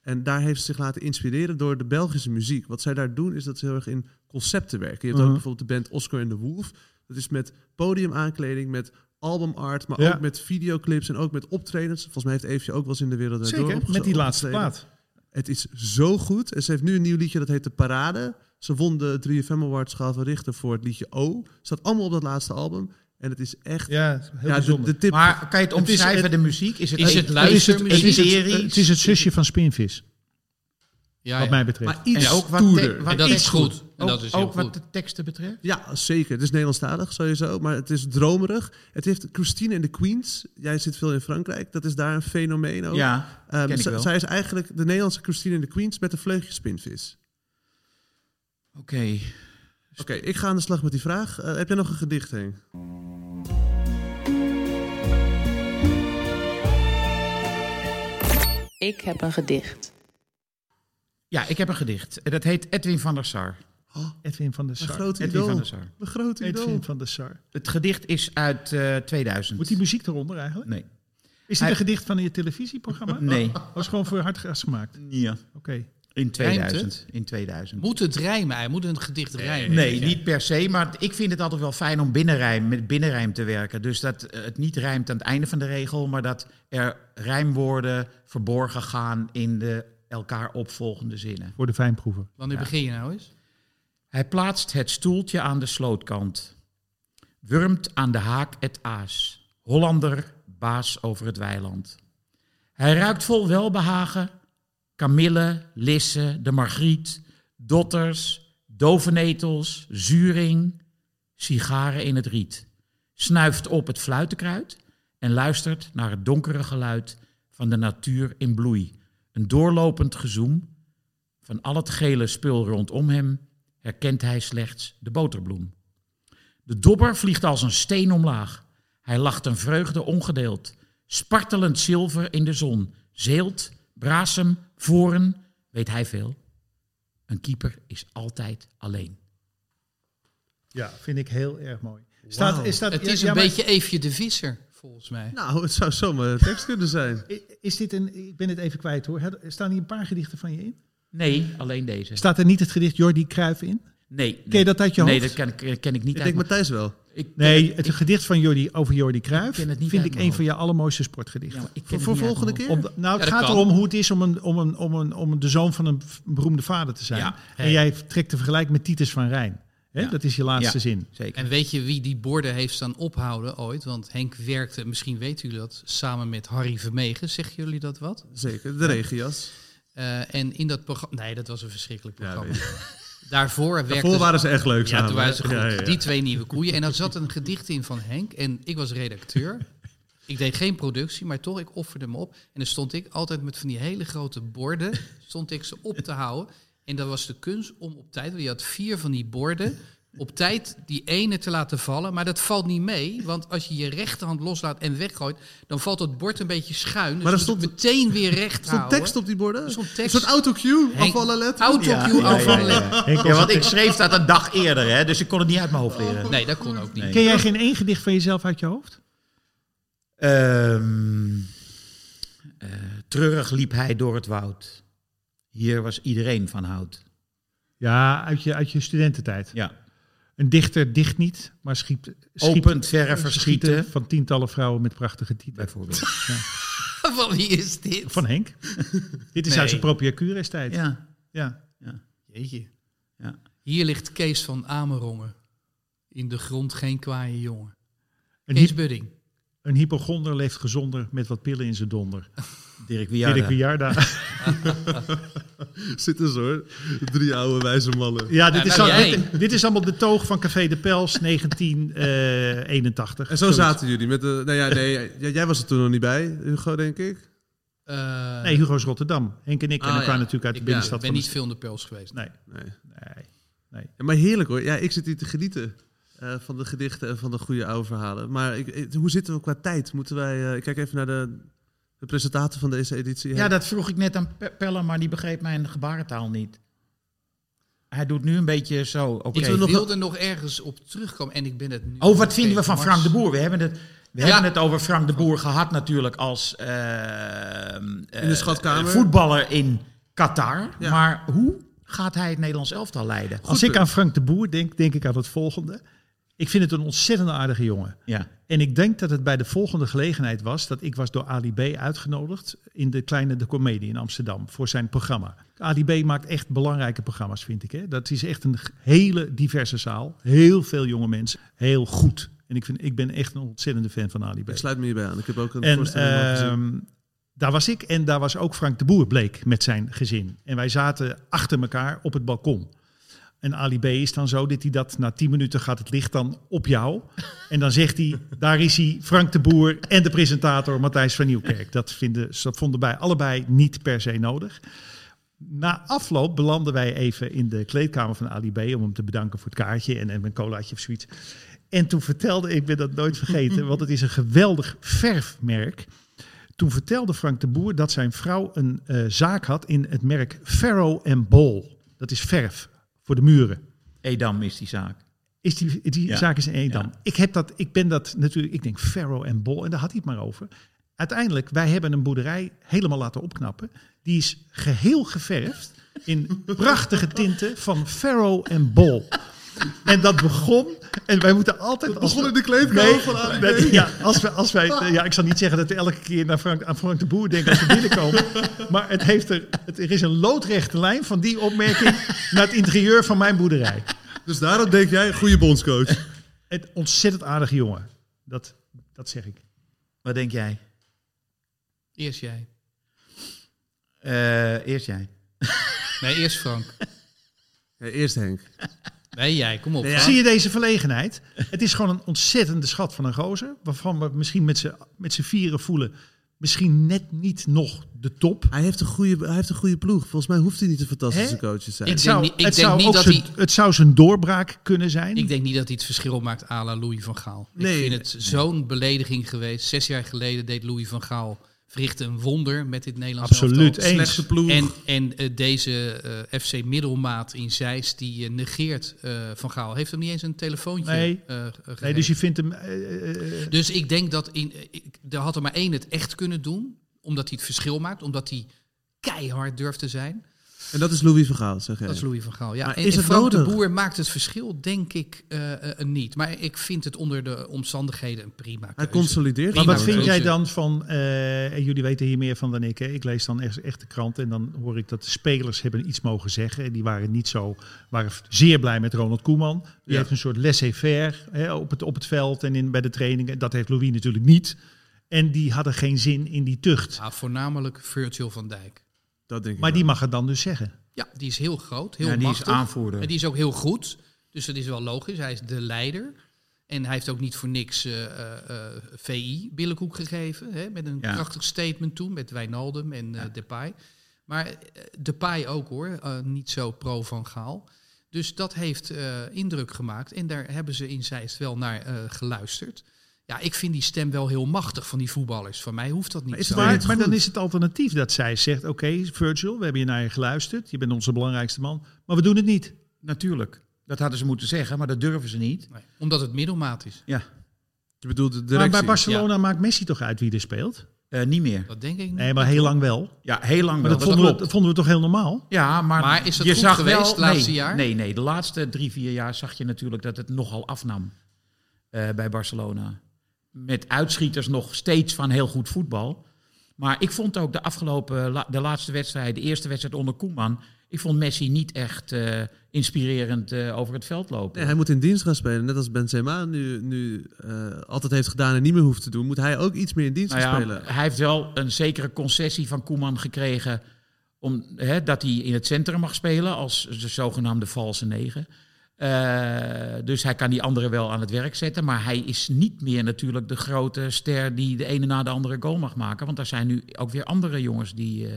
Speaker 5: En daar heeft ze zich laten inspireren door de Belgische muziek. Wat zij daar doen, is dat ze heel erg in concepten werken. Je hebt
Speaker 4: Mhm.
Speaker 5: ook bijvoorbeeld de band Oscar en de Wolf. Dat is met podiumaankleding, met albumart, maar
Speaker 4: Ja.
Speaker 5: ook met videoclips en ook met optredens. Volgens mij heeft Eefje ook wel eens in de wereld Draait Door
Speaker 4: Zeker,
Speaker 5: opgezo-
Speaker 4: met die laatste
Speaker 5: opgetreden.
Speaker 4: plaat.
Speaker 5: Het is zo goed. En ze heeft nu een nieuw liedje, dat heet De Parade. Ze won de 3FM Awards Schaal van Richter voor het liedje O. Staat allemaal op dat laatste album. En het is echt...
Speaker 4: Ja, heel
Speaker 5: Ja, de,
Speaker 4: bijzonder.
Speaker 5: de tip...
Speaker 1: Maar kan je het
Speaker 4: Het is-
Speaker 1: omschrijven,
Speaker 4: het-
Speaker 1: de muziek? Is het,
Speaker 3: Is het luistermuziek?
Speaker 1: Het is het,
Speaker 4: Eh, het is het zusje van Spinvis,
Speaker 3: Ja,
Speaker 4: wat
Speaker 3: ja.
Speaker 4: mij betreft.
Speaker 5: Ah, maar iets
Speaker 1: en ook wat,
Speaker 5: stoerder.
Speaker 1: te- wat
Speaker 3: En dat
Speaker 1: iets
Speaker 3: is goed. En dat
Speaker 1: ook
Speaker 3: is heel
Speaker 1: ook wat
Speaker 3: goed.
Speaker 1: de teksten betreft.
Speaker 5: Ja, zeker. Het is Nederlandstalig sowieso, maar het is dromerig. Het heeft Christine en de Queens. Jij zit veel in Frankrijk. Dat is daar een fenomeen ook.
Speaker 1: Ja,
Speaker 5: Ehm,
Speaker 1: ken ik
Speaker 5: z-
Speaker 1: wel.
Speaker 5: Zij is eigenlijk de Nederlandse Christine en de Queens met een vleugje spinvis.
Speaker 1: oké.
Speaker 5: Oké, ik ga aan de slag met die vraag. Eh, heb jij nog een gedicht, Henk?
Speaker 6: Ik heb een gedicht.
Speaker 1: Ja, ik heb een gedicht. En Dat heet Edwin van der Sar.
Speaker 4: Edwin van der
Speaker 5: Mijn
Speaker 4: Sar.
Speaker 5: grote
Speaker 1: Edwin van
Speaker 5: idool.
Speaker 1: der Sar.
Speaker 5: Mijn grote idool.
Speaker 4: Edwin van der Sar.
Speaker 1: Het gedicht is uit eh, 2000.
Speaker 4: Moet die muziek eronder eigenlijk?
Speaker 1: Nee.
Speaker 4: Is dit
Speaker 1: Hij-
Speaker 4: een gedicht van je televisieprogramma?
Speaker 1: Nee.
Speaker 4: Dat is gewoon voor hartgras gemaakt. Oké.
Speaker 1: Ja. In 2000. In 2000.
Speaker 3: Moet het rijmen? Hij moet een gedicht rijmen.
Speaker 1: Nee,
Speaker 3: Ja.
Speaker 1: niet per se. Maar ik vind het altijd wel fijn om binnenrijm, met binnenrijm te werken. Dus dat eh, het niet rijmt aan het einde van de regel, maar dat er rijmwoorden verborgen gaan in de elkaar opvolgende zinnen.
Speaker 4: Voor de fijnproever.
Speaker 3: Wanneer begin je nou eens?
Speaker 1: Hij plaatst het stoeltje aan de slootkant. Wurmt aan de haak het aas. Hollander, baas over het weiland. Hij ruikt vol welbehagen. Kamille, lisse, de margriet, dotters, dovenetels, zuring, sigaren in het riet. Snuift op het fluitenkruid en luistert naar het donkere geluid van de natuur in bloei. Een doorlopend gezoem van al het gele spul rondom hem herkent hij slechts de boterbloem. De dobber vliegt als een steen omlaag. Hij lacht een vreugde ongedeeld. Spartelend zilver in de zon. Zeelt, brasem, voren, weet hij veel. Een keeper is altijd alleen.
Speaker 4: Ja, vind ik heel erg mooi. Staat, is dat,
Speaker 3: Het
Speaker 4: ja,
Speaker 3: is
Speaker 4: ja,
Speaker 3: een
Speaker 4: maar
Speaker 3: beetje Eefje de Visser, volgens mij.
Speaker 5: Nou, het zou zomaar een tekst kunnen zijn.
Speaker 4: i- Is dit een, ik ben het even kwijt hoor. Had- Staan hier een paar gedichten van je in?
Speaker 1: Nee, alleen deze.
Speaker 4: Staat er niet het gedicht Jordi Cruijff in?
Speaker 1: Nee,
Speaker 4: Ken je dat uit je
Speaker 1: nee,
Speaker 4: hoofd?
Speaker 1: dat ken, ik- ken ik niet
Speaker 5: Ik
Speaker 1: uit
Speaker 5: denk
Speaker 1: mijn-
Speaker 5: Matthijs wel.
Speaker 1: Ik
Speaker 4: Nee, het gedicht van Jordi over Jordi Cruijff
Speaker 1: ken het niet
Speaker 4: vind
Speaker 1: uit
Speaker 4: ik
Speaker 1: mijn
Speaker 4: een van je allermooiste sportgedichten.
Speaker 1: Ja, maar ik ken
Speaker 4: voor
Speaker 1: het
Speaker 4: voor
Speaker 1: niet uit
Speaker 4: volgende
Speaker 1: mijn
Speaker 4: keer?
Speaker 5: hoofd.
Speaker 4: Om de- nou, het
Speaker 3: Ja, dat
Speaker 4: gaat
Speaker 3: kan.
Speaker 4: erom hoe het is om, een, om, een, om, een, om de zoon van een v- beroemde vader te zijn.
Speaker 1: Ja,
Speaker 4: en
Speaker 3: hey.
Speaker 4: jij trekt de vergelijk met Titus van Rijn. Hè?
Speaker 1: Ja.
Speaker 4: Dat is je laatste
Speaker 1: Ja.
Speaker 4: zin.
Speaker 1: Zeker.
Speaker 3: En weet je wie die borden heeft staan ophouden ooit? Want Henk werkte, misschien weten jullie dat, samen met Harry Vermegen. Zeggen jullie dat wat?
Speaker 5: Zeker, de regenjas.
Speaker 3: Eh, en in dat programma... Nee, dat was een verschrikkelijk programma. Daarvoor werkte...
Speaker 5: Daarvoor waren ze echt leuk
Speaker 3: dus- Ja,
Speaker 5: samen.
Speaker 3: toen waren ze goed.
Speaker 5: Ja, ja, ja.
Speaker 3: Die twee nieuwe koeien. En daar zat een gedicht in van Henk. En ik was redacteur. Ik deed geen productie, maar toch, ik offerde me op. En dan stond ik altijd met van die hele grote borden, stond ik ze op te houden. En dat was de kunst om op tijd, want je had vier van die borden, op tijd die ene te laten vallen. Maar dat valt niet mee, want als je je rechterhand loslaat en weggooit, dan valt dat bord een beetje schuin. Dus
Speaker 5: Maar
Speaker 3: maar
Speaker 5: er
Speaker 3: dan stond
Speaker 5: stond-
Speaker 3: meteen weer recht
Speaker 5: Er
Speaker 1: Nou,
Speaker 5: stond
Speaker 3: houden.
Speaker 5: tekst op die borden?
Speaker 3: Er stond
Speaker 5: Een
Speaker 3: tekst.
Speaker 5: soort autocue,
Speaker 3: Henk-
Speaker 5: afvallen letter.
Speaker 3: Autocue
Speaker 1: Ja, ja, ja,
Speaker 3: afvallen.
Speaker 1: ja.
Speaker 4: Henk,
Speaker 1: Ja, want ik schreef dat een dag eerder, hè, dus ik kon het niet uit mijn hoofd leren.
Speaker 3: Nee, dat kon ook niet.
Speaker 4: Ken jij geen één gedicht van jezelf uit je hoofd?
Speaker 1: Ehm, eh, treurig liep hij door het woud. Hier was iedereen van hout.
Speaker 4: Ja, uit je, uit je studententijd.
Speaker 1: Ja.
Speaker 4: Een dichter dicht niet, maar schiet, schiet
Speaker 1: Opent verre verschieten.
Speaker 4: van tientallen vrouwen met prachtige titels.
Speaker 1: Bijvoorbeeld.
Speaker 3: Van wie is dit?
Speaker 4: Van Henk. Dit is
Speaker 3: Nee.
Speaker 4: uit zijn propia tijd. Ja.
Speaker 1: Ja.
Speaker 3: Jeetje.
Speaker 1: Ja.
Speaker 3: Hier ligt Kees van Amerongen. In de grond geen kwaaie jongen.
Speaker 4: Een,
Speaker 3: Kees
Speaker 4: hy-
Speaker 3: Budding.
Speaker 4: een hypochonder leeft gezonder met wat pillen in zijn donder.
Speaker 1: Dirk
Speaker 4: Ja,
Speaker 1: Wiarda.
Speaker 4: Dirk Wiarda.
Speaker 5: Zitten ze hoor. Drie oude wijze mannen.
Speaker 4: Ja, dit,
Speaker 3: Ja,
Speaker 4: is
Speaker 3: nou,
Speaker 4: al-
Speaker 3: jij.
Speaker 4: dit, dit is allemaal de toog van Café de Pels eh, 1981.
Speaker 5: En zo zaten jullie met de... Nou ja, nee, jij, jij was er toen nog niet bij, Hugo, denk ik.
Speaker 3: Eh,
Speaker 4: Nee, Hugo's Rotterdam. Henk en ik. en
Speaker 5: Ah,
Speaker 4: we kwamen
Speaker 5: ja.
Speaker 4: natuurlijk uit de
Speaker 5: Ik ben-
Speaker 3: ik
Speaker 4: binnenstad
Speaker 3: ben
Speaker 4: van de Nou,
Speaker 3: niet veel in de pels geweest.
Speaker 4: Nee.
Speaker 5: Nee.
Speaker 4: Nee.
Speaker 5: Ja, maar heerlijk hoor. Ja, ik zit hier te genieten eh, van de gedichten en van de goede oude verhalen. Maar ik, ik- hoe zitten we qua tijd? Moeten wij... eh, ik kijk even naar de, de presentator van deze editie.
Speaker 1: Ja, dat vroeg ik net aan Pe- Pelle, maar die begreep mijn gebarentaal niet. Hij doet nu een beetje zo. Oké.
Speaker 3: Ik
Speaker 5: nog-
Speaker 3: wilde nog ergens op terugkomen en ik ben het nu...
Speaker 1: Oh, wat vinden we van
Speaker 3: Mars.
Speaker 1: Frank de Boer? We hebben het, we
Speaker 3: Ja.
Speaker 1: hebben het over Frank de Boer gehad natuurlijk als eh, eh,
Speaker 5: In de schatkamer.
Speaker 1: voetballer in Qatar.
Speaker 5: Ja.
Speaker 1: Maar hoe gaat hij het Nederlands elftal leiden?
Speaker 4: Als ik aan Frank de Boer denk, denk ik aan het volgende. Ik vind het een ontzettend aardige jongen.
Speaker 1: Ja.
Speaker 4: En ik denk dat het bij de volgende gelegenheid was dat ik was door Ali B. uitgenodigd in de kleine de Comedie in Amsterdam voor zijn programma. Ali B. maakt echt belangrijke programma's, vind ik. Hè? Dat is echt een g- hele diverse zaal. Heel veel jonge mensen. Heel goed. En ik, vind, ik ben echt een ontzettende fan van Ali B.
Speaker 5: Ik sluit me hierbij aan. Ik heb ook een
Speaker 4: En
Speaker 5: voorstelling al gezien.
Speaker 4: ehm, daar was ik en daar was ook Frank de Boer bleek met zijn gezin. En wij zaten achter elkaar op het balkon. En Ali B is dan zo dat hij dat na 10 minuten gaat het licht dan op jou. En dan zegt hij, daar is hij, Frank de Boer en de presentator Matthijs van Nieuwkerk. Dat, vinden, dat vonden wij allebei niet per se nodig. Na afloop belanden wij even in de kleedkamer van Ali B. om hem te bedanken voor het kaartje en, en een colaatje of zoiets. En toen vertelde, ik ben dat nooit vergeten, want het is een geweldig verfmerk. Toen vertelde Frank de Boer dat zijn vrouw een eh, zaak had in het merk Farrow and Ball. Dat is verf voor de muren.
Speaker 1: Edam is die zaak.
Speaker 4: Is die, die
Speaker 1: Ja,
Speaker 4: zaak is in Edam.
Speaker 1: ja.
Speaker 4: Ik, heb dat, ik ben dat natuurlijk, ik denk Ferro en Bol, en daar had hij het maar over. Uiteindelijk, wij hebben een boerderij helemaal laten opknappen. Die is geheel geverfd in prachtige tinten van Ferro en Bol. En dat begon, en wij moeten altijd... als we-
Speaker 5: Begon in de kleedkamer van Ali B.
Speaker 4: Nee, ja, als wij, als wij, eh, ja, ik zal niet zeggen dat we elke keer naar Frank, aan Frank de Boer denken als we binnenkomen. Maar het heeft er, het, er is een loodrechte lijn van die opmerking naar het interieur van mijn boerderij.
Speaker 5: Dus daarom denk jij, goede bondscoach.
Speaker 4: Een ontzettend aardige jongen. Dat, dat zeg ik.
Speaker 1: Wat denk jij?
Speaker 3: Eerst jij.
Speaker 1: Eh, eerst jij.
Speaker 3: Nee, eerst Frank.
Speaker 5: Ja, eerst Henk.
Speaker 3: Nee, jij. Kom op. Frank.
Speaker 4: Zie je deze verlegenheid? Het is gewoon een ontzettende schat van een gozer. Waarvan we misschien met z'n- met z'n vieren voelen. Misschien net niet nog de top.
Speaker 5: Hij heeft, een goede, hij heeft een goede ploeg. Volgens mij hoeft hij niet een fantastische
Speaker 4: Hè?
Speaker 5: coach te zijn.
Speaker 3: Ik
Speaker 4: Het zou,
Speaker 3: niet- ik
Speaker 4: het
Speaker 3: denk
Speaker 4: zou
Speaker 3: niet
Speaker 4: ook
Speaker 3: dat
Speaker 4: zijn,
Speaker 3: hij-
Speaker 4: het zou zijn doorbraak kunnen zijn.
Speaker 3: Ik denk niet dat hij het verschil maakt à la Louis van Gaal.
Speaker 5: Nee.
Speaker 3: Ik vind het zo'n belediging geweest. Zes jaar geleden deed Louis van Gaal verrichtte een wonder met dit Nederlands
Speaker 4: Absoluut
Speaker 3: elftal.
Speaker 4: eens.
Speaker 5: Slechte ploeg.
Speaker 3: En, en eh, deze eh, FC Middelmaat in Zeist, die eh, negeert eh, Van Gaal. Heeft hem niet eens een telefoontje
Speaker 4: Nee.
Speaker 3: eh, eh,
Speaker 4: Nee,
Speaker 3: gegeven.
Speaker 4: dus je vindt hem. eh, eh,
Speaker 3: Dus ik denk dat in, eh, ik, er had er maar één het echt kunnen doen. Omdat hij het verschil maakt. Omdat hij keihard durft te zijn.
Speaker 5: En dat is Louis Vergaal, zeg jij.
Speaker 3: Dat is Louis van Gaal. Ja.
Speaker 5: Maar
Speaker 3: en
Speaker 5: is
Speaker 3: en
Speaker 5: het
Speaker 3: Frank de
Speaker 5: nodig?
Speaker 3: Boer maakt het verschil, denk ik, eh, eh, niet. Maar ik vind het onder de omstandigheden een prima keuze.
Speaker 5: Hij consolideert.
Speaker 4: Maar
Speaker 3: Prima
Speaker 4: wat vind
Speaker 3: keuze.
Speaker 4: jij dan van, eh, en jullie weten hier meer van dan ik, hè? ik lees dan echt, echt de krant en dan hoor ik dat de spelers hebben iets mogen zeggen. En die waren niet zo, waren zeer blij met Ronald Koeman. Die
Speaker 5: Ja.
Speaker 4: heeft een soort laissez-faire hè, op, het, op het veld en in, bij de trainingen. Dat heeft Louis natuurlijk niet. En die hadden geen zin in die tucht.
Speaker 3: Ja, voornamelijk Virgil van Dijk.
Speaker 5: Dat denk ik
Speaker 4: Maar
Speaker 5: wel.
Speaker 4: die mag het dan dus zeggen.
Speaker 3: Ja, die is heel groot, heel
Speaker 1: Ja, die is
Speaker 3: machtig.
Speaker 1: aanvoerder.
Speaker 3: En die is ook heel goed. Dus dat is wel logisch. Hij is de leider. En hij heeft ook niet voor niks eh, eh, eh, VI billenkoek gegeven. Hè, met een
Speaker 1: Ja.
Speaker 3: krachtig statement toen met Wijnaldum en eh, Depay. Maar eh, Depay ook hoor. eh, niet zo pro van Gaal. Dus dat heeft eh, indruk gemaakt. En daar hebben ze in Zeist wel naar eh, geluisterd. Ja, ik vind die stem wel heel machtig van die voetballers. Van mij hoeft dat niet
Speaker 5: Maar is
Speaker 3: zo.
Speaker 5: het waar?
Speaker 4: Maar,
Speaker 5: niet
Speaker 4: maar dan
Speaker 5: goed.
Speaker 4: is het alternatief dat zij zegt, oké Virgil, we hebben je naar je geluisterd. Je bent onze belangrijkste man, maar we doen het niet.
Speaker 1: Natuurlijk. Dat hadden ze moeten zeggen, maar dat durven ze niet.
Speaker 3: Nee, omdat het middelmaat is.
Speaker 1: Ja,
Speaker 5: Je bedoelt de
Speaker 4: Maar
Speaker 5: directie.
Speaker 4: bij Barcelona maakt Messi toch uit wie er speelt?
Speaker 1: eh, niet meer.
Speaker 3: Dat denk ik niet.
Speaker 4: Nee, maar heel lang wel.
Speaker 1: Ja, heel lang
Speaker 4: Maar
Speaker 1: wel.
Speaker 4: dat vonden, we, dat vonden we toch heel normaal?
Speaker 1: Ja, maar,
Speaker 3: Maar is dat
Speaker 1: je
Speaker 3: goed
Speaker 1: zag
Speaker 3: geweest
Speaker 1: wel,
Speaker 3: het laatste
Speaker 1: nee,
Speaker 3: jaar?
Speaker 1: Nee, nee, de laatste drie, vier jaar zag je natuurlijk dat het nogal afnam eh, bij Barcelona. Met uitschieters nog steeds van heel goed voetbal. Maar ik vond ook de afgelopen, la- de laatste wedstrijd, de eerste wedstrijd onder Koeman... Ik vond Messi niet echt eh, inspirerend eh, over het veld lopen.
Speaker 5: Nee, hij moet in dienst gaan spelen. Net als Benzema nu, nu eh, altijd heeft gedaan en niet meer hoeft te doen. Moet hij ook iets meer in dienst
Speaker 1: Nou
Speaker 5: gaan
Speaker 1: ja,
Speaker 5: spelen.
Speaker 1: hij heeft wel een zekere concessie van Koeman gekregen. Om, hè, dat hij in het centrum mag spelen als de zogenaamde valse negen. Eh, dus hij kan die anderen wel aan het werk zetten. Maar hij is niet meer natuurlijk de grote ster die de ene na de andere goal mag maken. Want er zijn nu ook weer andere jongens die. eh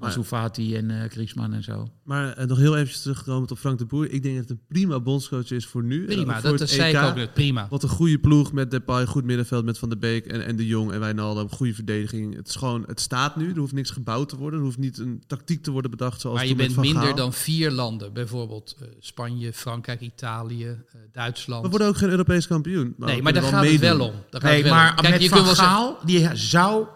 Speaker 1: Ansu Fati en eh Griezmann en zo.
Speaker 5: Maar eh, nog heel even terugkomend op Frank de Boer. Ik denk dat het een prima bondscoach is voor nu. En
Speaker 3: Prima,
Speaker 5: ook voor
Speaker 3: dat,
Speaker 5: het
Speaker 3: dat zei ik
Speaker 5: EK.
Speaker 3: ook net. Prima.
Speaker 5: Wat een goede ploeg met Depay, goed middenveld met Van der Beek en, en De Jong en Wijnaldum. Goede verdediging. Het, is gewoon, het staat nu, er hoeft niks gebouwd te worden. Er hoeft niet een tactiek te worden bedacht zoals
Speaker 3: Maar je
Speaker 5: toen
Speaker 3: bent
Speaker 5: met Van
Speaker 3: minder
Speaker 5: Gaal.
Speaker 3: dan vier landen. Bijvoorbeeld eh, Spanje, Frankrijk, Italië, eh, Duitsland.
Speaker 5: We worden ook geen Europees kampioen.
Speaker 3: nee,
Speaker 1: Oh,
Speaker 5: we
Speaker 3: maar daar
Speaker 5: kunnen
Speaker 3: gaat het wel
Speaker 5: meedoen.
Speaker 3: om. Daar gaat
Speaker 1: Nee,
Speaker 3: het wel
Speaker 1: maar
Speaker 3: om. Kijk,
Speaker 1: met
Speaker 3: je
Speaker 1: Van
Speaker 3: kunt wel zeggen-
Speaker 1: Gaal, die zou...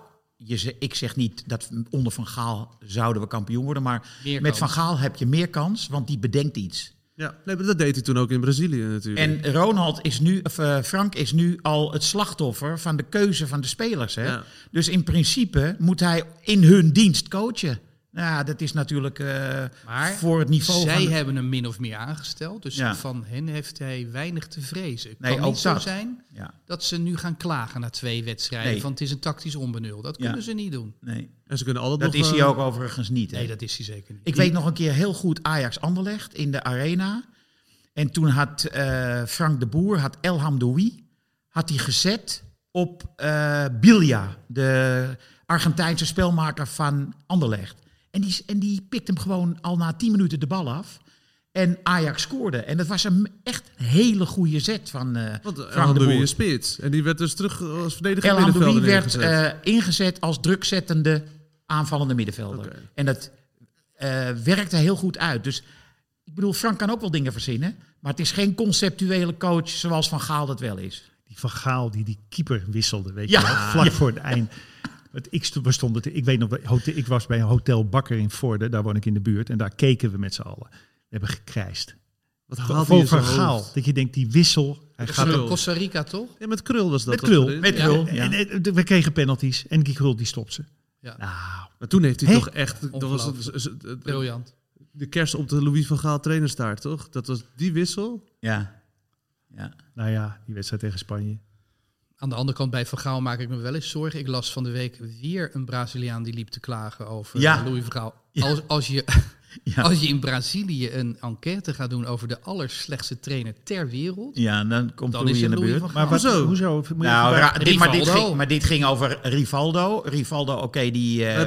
Speaker 1: Je, ze- ik zeg niet dat onder Van Gaal zouden we kampioen worden. Maar
Speaker 3: Meer kans.
Speaker 1: met Van Gaal heb je meer kans, want die bedenkt iets.
Speaker 5: Ja, nee, maar dat deed hij toen ook in Brazilië natuurlijk.
Speaker 1: En Ronald is nu, of, eh, Frank is nu al het slachtoffer van de keuze van de spelers. Hè?
Speaker 5: Ja.
Speaker 1: Dus in principe moet hij in hun dienst coachen. Nou, ja, dat is natuurlijk eh,
Speaker 3: Maar
Speaker 1: voor het niveau
Speaker 3: Zij
Speaker 1: van... de-
Speaker 3: hebben hem min of meer aangesteld. Dus
Speaker 1: Ja.
Speaker 3: van hen heeft hij weinig te vrezen. Het
Speaker 1: Nee,
Speaker 3: kan
Speaker 1: ook
Speaker 3: niet zo
Speaker 1: dat.
Speaker 3: zijn
Speaker 1: Ja,
Speaker 3: dat ze nu gaan klagen na twee wedstrijden.
Speaker 1: Nee.
Speaker 3: Want het is een tactisch onbenul. Dat
Speaker 1: Ja.
Speaker 3: kunnen ze niet doen.
Speaker 1: nee.
Speaker 5: En ze kunnen altijd
Speaker 1: Dat
Speaker 5: nog...
Speaker 1: is
Speaker 5: eh,
Speaker 1: hij ook overigens niet. Hè?
Speaker 3: Nee, dat is hij zeker niet.
Speaker 1: Ik weet nog een keer heel goed Ajax Anderlecht in de arena. En toen had eh, Frank de Boer, had Elham Doui, had hij gezet op eh Bilja, de Argentijnse spelmaker van Anderlecht. En die, en die pikt hem gewoon al na 10 minuten de bal af. En Ajax scoorde. En dat was een echt hele goede zet van eh Frank
Speaker 5: Want
Speaker 1: de
Speaker 5: Elhandoui
Speaker 1: Boer.
Speaker 5: is spits. En die werd dus terug als verdediger
Speaker 1: El Hamdoui
Speaker 5: middenvelder
Speaker 1: werd
Speaker 5: neergezet.
Speaker 1: eh, ingezet als drukzettende aanvallende middenvelder.
Speaker 5: Oké.
Speaker 1: En dat eh, werkte heel goed uit. Dus ik bedoel, Frank kan ook wel dingen verzinnen. Maar het is geen conceptuele coach zoals Van Gaal dat wel is.
Speaker 4: Die Van Gaal die die keeper wisselde, weet
Speaker 1: Ja.
Speaker 4: je wel, vlak voor het eind. Want ik, sto- we stonden te- ik, weet nog, bij hotel- ik was bij een hotel Bakker in Vorden, daar woon ik in de buurt. En daar keken we met z'n allen. We hebben gekrijsd.
Speaker 5: Wat
Speaker 4: Van
Speaker 5: haalt hij in
Speaker 4: Van
Speaker 5: zijn
Speaker 4: Gaal,
Speaker 5: hoofd?
Speaker 4: dat je denkt, die wissel, hij
Speaker 3: Dat
Speaker 4: gaat
Speaker 3: was
Speaker 5: Krul.
Speaker 3: ook Costa Rica toch?
Speaker 5: Ja, met Krul was dat.
Speaker 4: met
Speaker 5: wat
Speaker 4: krul.
Speaker 5: erin.
Speaker 1: Met Krul.
Speaker 4: En, en, en we kregen penalties en die krul die stopt ze.
Speaker 3: Ja.
Speaker 4: Nou,
Speaker 5: Maar toen heeft hij
Speaker 4: Hè?
Speaker 5: toch echt... Dat was het,
Speaker 3: Ongelooflijk.
Speaker 5: is- is- het-
Speaker 3: Briljant.
Speaker 5: de kerst op de Louis van Gaal trainerstaart, toch? Dat was die wissel.
Speaker 1: Ja. ja.
Speaker 4: nou ja, die wedstrijd tegen Spanje.
Speaker 3: Aan de andere kant, bij Van Gaal maak ik me wel eens zorgen. Ik las van de week weer een Braziliaan die liep te klagen over eh,
Speaker 1: Ja.
Speaker 3: Louis van Gaal.
Speaker 1: Ja.
Speaker 3: Als, als je
Speaker 1: Ja.
Speaker 3: Als je in Brazilië een enquête gaat doen over de allerslechtste trainer ter wereld,
Speaker 1: ja, dan komt
Speaker 3: dan is
Speaker 1: Louis
Speaker 3: het
Speaker 1: in de
Speaker 3: Louis
Speaker 1: buurt.
Speaker 3: van Gaal.
Speaker 4: Maar wat,
Speaker 5: Hoezo?
Speaker 4: hoezo? Moet je
Speaker 1: Nou,
Speaker 4: even-
Speaker 1: ra- dit, maar, dit
Speaker 3: Rivaldo.
Speaker 1: ging, maar dit ging over Rivaldo. Rivaldo, oké, die... eh,
Speaker 5: Bij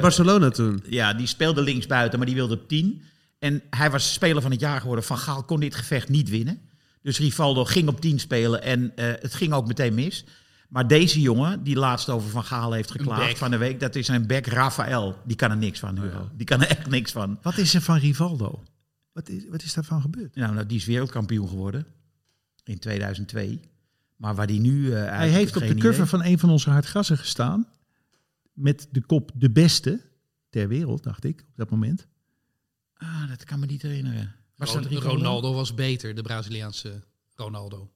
Speaker 5: Barcelona toen.
Speaker 1: ja, die speelde linksbuiten, maar die wilde op 10. En hij was speler van het jaar geworden. Van Gaal kon dit gevecht niet winnen. Dus Rivaldo ging op 10 spelen en eh, het ging ook meteen mis. Maar deze jongen, die laatst over Van Gaal heeft
Speaker 3: back.
Speaker 1: geklaagd van de week, dat is een back Rafael. Die kan er niks van, Hugo. Die kan er echt niks van.
Speaker 4: wat is er van Rivaldo? Wat is, wat is daarvan gebeurd?
Speaker 1: Nou, nou, die is wereldkampioen geworden in 2002. Maar waar die nu... eh,
Speaker 4: Hij
Speaker 1: eigenlijk
Speaker 4: heeft op
Speaker 1: geen
Speaker 4: de cover
Speaker 1: idee-
Speaker 4: van een van onze hardgassen gestaan. Met de kop de beste ter wereld, dacht ik, op dat moment.
Speaker 1: Ah, dat kan me niet herinneren. Was dat Rico
Speaker 3: Ronaldo was beter, de Braziliaanse Ronaldo.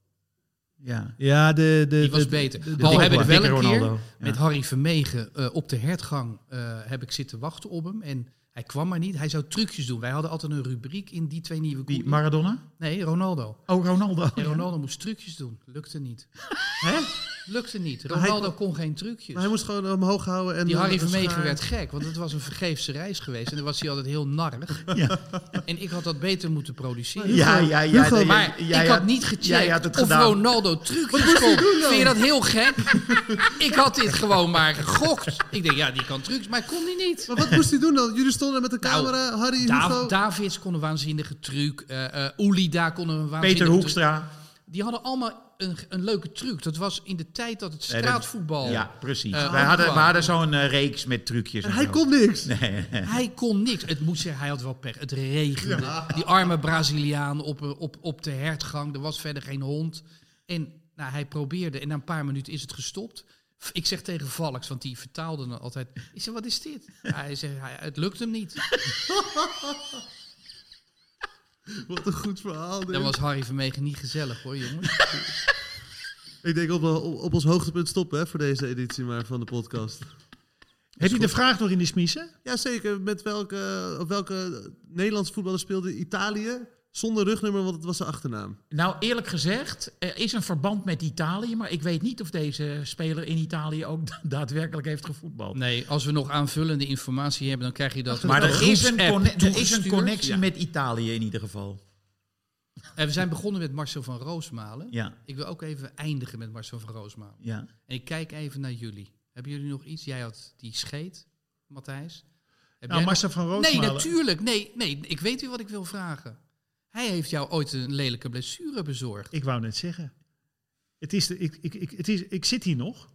Speaker 1: Ja.
Speaker 4: Ja, de... de
Speaker 3: Die was
Speaker 4: de-
Speaker 3: beter.
Speaker 4: de- de
Speaker 3: Al
Speaker 4: dikke-
Speaker 3: heb ik wel
Speaker 4: dikke
Speaker 3: een keer
Speaker 4: Ronaldo.
Speaker 3: met Harry Vermegen eh, op de hertgang eh, heb ik zitten wachten op hem. En hij kwam maar niet. Hij zou trucjes doen. Wij hadden altijd een rubriek in die twee nieuwe
Speaker 1: Wie,
Speaker 3: koeien.
Speaker 1: Maradona?
Speaker 3: Nee, Ronaldo.
Speaker 1: Oh, Ronaldo.
Speaker 3: En Ronaldo moest trucjes doen. Lukte niet.
Speaker 1: Hè?
Speaker 3: Lukte niet.
Speaker 5: hij
Speaker 3: Ronaldo kon geen trucjes.
Speaker 5: Maar hij moest gewoon omhoog houden. En
Speaker 3: Die
Speaker 5: dan
Speaker 3: Harry
Speaker 5: een
Speaker 3: Vermegen
Speaker 5: schaar.
Speaker 3: werd gek, want het was een vergeefse reis geweest. En dan was hij altijd heel narrig. En ik had dat beter moeten produceren.
Speaker 1: Ja, ja, ja.
Speaker 5: Hugo,
Speaker 1: nee,
Speaker 3: Maar
Speaker 1: jij
Speaker 3: ik
Speaker 1: had-
Speaker 3: had niet gecheckt
Speaker 1: jij had het
Speaker 3: of
Speaker 1: gedaan.
Speaker 3: Ronaldo trucjes kon. Vind je dat heel gek? ik had dit gewoon maar gegokt. Ik denk, ja, die kan trucs, maar kon die niet.
Speaker 5: Maar wat moest hij doen dan? Jullie stonden met de
Speaker 3: Nou,
Speaker 5: camera, Harry, Hugo.
Speaker 3: Dav- Davids kon een waanzinnige truc. eh eh Ulida kon een waanzinnige
Speaker 1: Peter
Speaker 3: truc.
Speaker 1: Hoekstra.
Speaker 3: Die hadden allemaal een, een leuke truc. Dat was in de tijd dat het
Speaker 1: Nee, dat-
Speaker 3: straatvoetbal...
Speaker 1: Ja, precies.
Speaker 3: Eh,
Speaker 1: wij, hadden,
Speaker 3: Antoine.
Speaker 1: wij hadden zo'n eh, reeks met trucjes.
Speaker 5: En
Speaker 1: en
Speaker 5: hij
Speaker 1: zo.
Speaker 5: kon niks.
Speaker 3: Hij kon niks. Het moest zeggen, hij had wel pech. Het regende. Die arme Braziliaan op, op, op de hertgang. Er was verder geen hond. En nou, hij probeerde. En na een paar minuten is het gestopt. F- Ik zeg tegen Valks, want die vertaalde dan altijd. Ik zeg, wat is dit? Ja, hij zegt, hij- het lukt hem niet.
Speaker 5: Wat een goed verhaal. dit.
Speaker 3: Dan was Harry Vermegen niet gezellig hoor, jongens.
Speaker 5: Ik denk op, op, op ons hoogtepunt stoppen hè, voor deze editie maar van de podcast.
Speaker 4: Heb je de vraag nog in de smiezen?
Speaker 5: Jazeker, met welke, op welke Nederlandse voetballer speelde Italië zonder rugnummer, want het was zijn achternaam.
Speaker 1: Nou, eerlijk gezegd, er is een verband met Italië. Maar ik weet niet of deze speler in Italië ook daadwerkelijk heeft gevoetbald.
Speaker 3: Nee, als we nog aanvullende informatie hebben, dan krijg je dat.
Speaker 1: Maar
Speaker 3: op
Speaker 1: er is, een
Speaker 3: groepsapp
Speaker 1: conne- er is een
Speaker 3: toegestuurd.
Speaker 1: connectie
Speaker 3: Ja.
Speaker 1: met Italië in ieder geval.
Speaker 3: En Eh, we zijn begonnen met Marcel van Roosmalen.
Speaker 1: Ja,
Speaker 3: Ik wil ook even eindigen met Marcel van Roosmalen.
Speaker 1: ja.
Speaker 3: En ik kijk even naar jullie. Hebben jullie nog iets? Jij had die scheet, Matthijs. Heb jij
Speaker 4: Nou,
Speaker 3: nog-
Speaker 4: Marcel van Roosmalen.
Speaker 3: Nee, natuurlijk. Nee, nee, ik weet u wat ik wil vragen. Hij heeft jou ooit een lelijke blessure bezorgd.
Speaker 4: Ik wou net zeggen. Het is de, ik, ik, ik, het is, ik zit hier nog,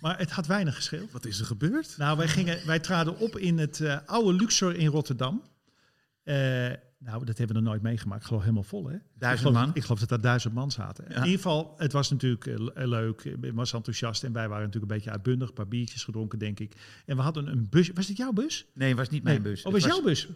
Speaker 4: maar het had weinig gescheeld.
Speaker 5: Wat is er gebeurd?
Speaker 4: Nou, wij, gingen, wij traden op in het eh, oude Luxor in Rotterdam. Eh, nou, dat hebben we nog nooit meegemaakt. Ik geloof helemaal vol, hè?
Speaker 1: Duizend
Speaker 4: Ik geloof-
Speaker 1: man.
Speaker 4: Ik geloof dat daar duizend man zaten. In ieder geval, het was natuurlijk eh, le- leuk. Ik was enthousiast en wij waren natuurlijk een beetje uitbundig. Een paar biertjes gedronken, denk ik. En we hadden een bus. Was het jouw bus?
Speaker 1: Nee, het was niet mijn bus.
Speaker 4: Oh,
Speaker 1: Het
Speaker 4: was jouw bus?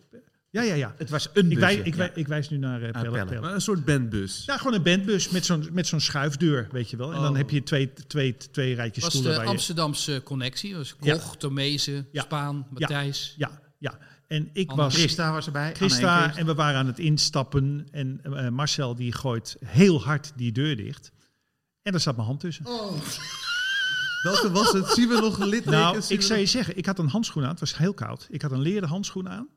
Speaker 4: Ja, ja, ja.
Speaker 1: Het was een
Speaker 4: Ik,
Speaker 1: bus.
Speaker 4: wij,
Speaker 1: ja. Ah,
Speaker 4: ik, wij- ik wijs nu naar eh, Pelle.
Speaker 1: Pelle.
Speaker 4: Pelle.
Speaker 5: Maar een soort bandbus.
Speaker 4: Ja, gewoon een bandbus met zo'n, met zo'n schuifdeur, weet je wel. En dan
Speaker 5: Oh.
Speaker 4: heb je twee, twee, twee rijtjes
Speaker 3: Dat was eh,
Speaker 4: stoelen.
Speaker 3: de
Speaker 4: waar je-
Speaker 3: Amsterdamse connectie. Dat was
Speaker 4: Ja.
Speaker 3: Koch, Tomezen,
Speaker 4: Ja.
Speaker 3: Spaan, Matthijs.
Speaker 4: Ja, ja. En ik
Speaker 3: Anne
Speaker 4: was
Speaker 1: Christa was erbij. Anne en
Speaker 4: Christa
Speaker 1: Christa.
Speaker 4: en we waren aan het instappen. En eh, Marcel die gooit heel hard die deur dicht. En daar zat mijn hand tussen.
Speaker 5: Welke was het? Zien we nog littekens?
Speaker 4: nou,
Speaker 5: Zien
Speaker 4: ik
Speaker 5: we
Speaker 4: zou je
Speaker 5: nog-
Speaker 4: zeggen, ik had een handschoen aan. Het was heel koud. Ik had een leren handschoen aan.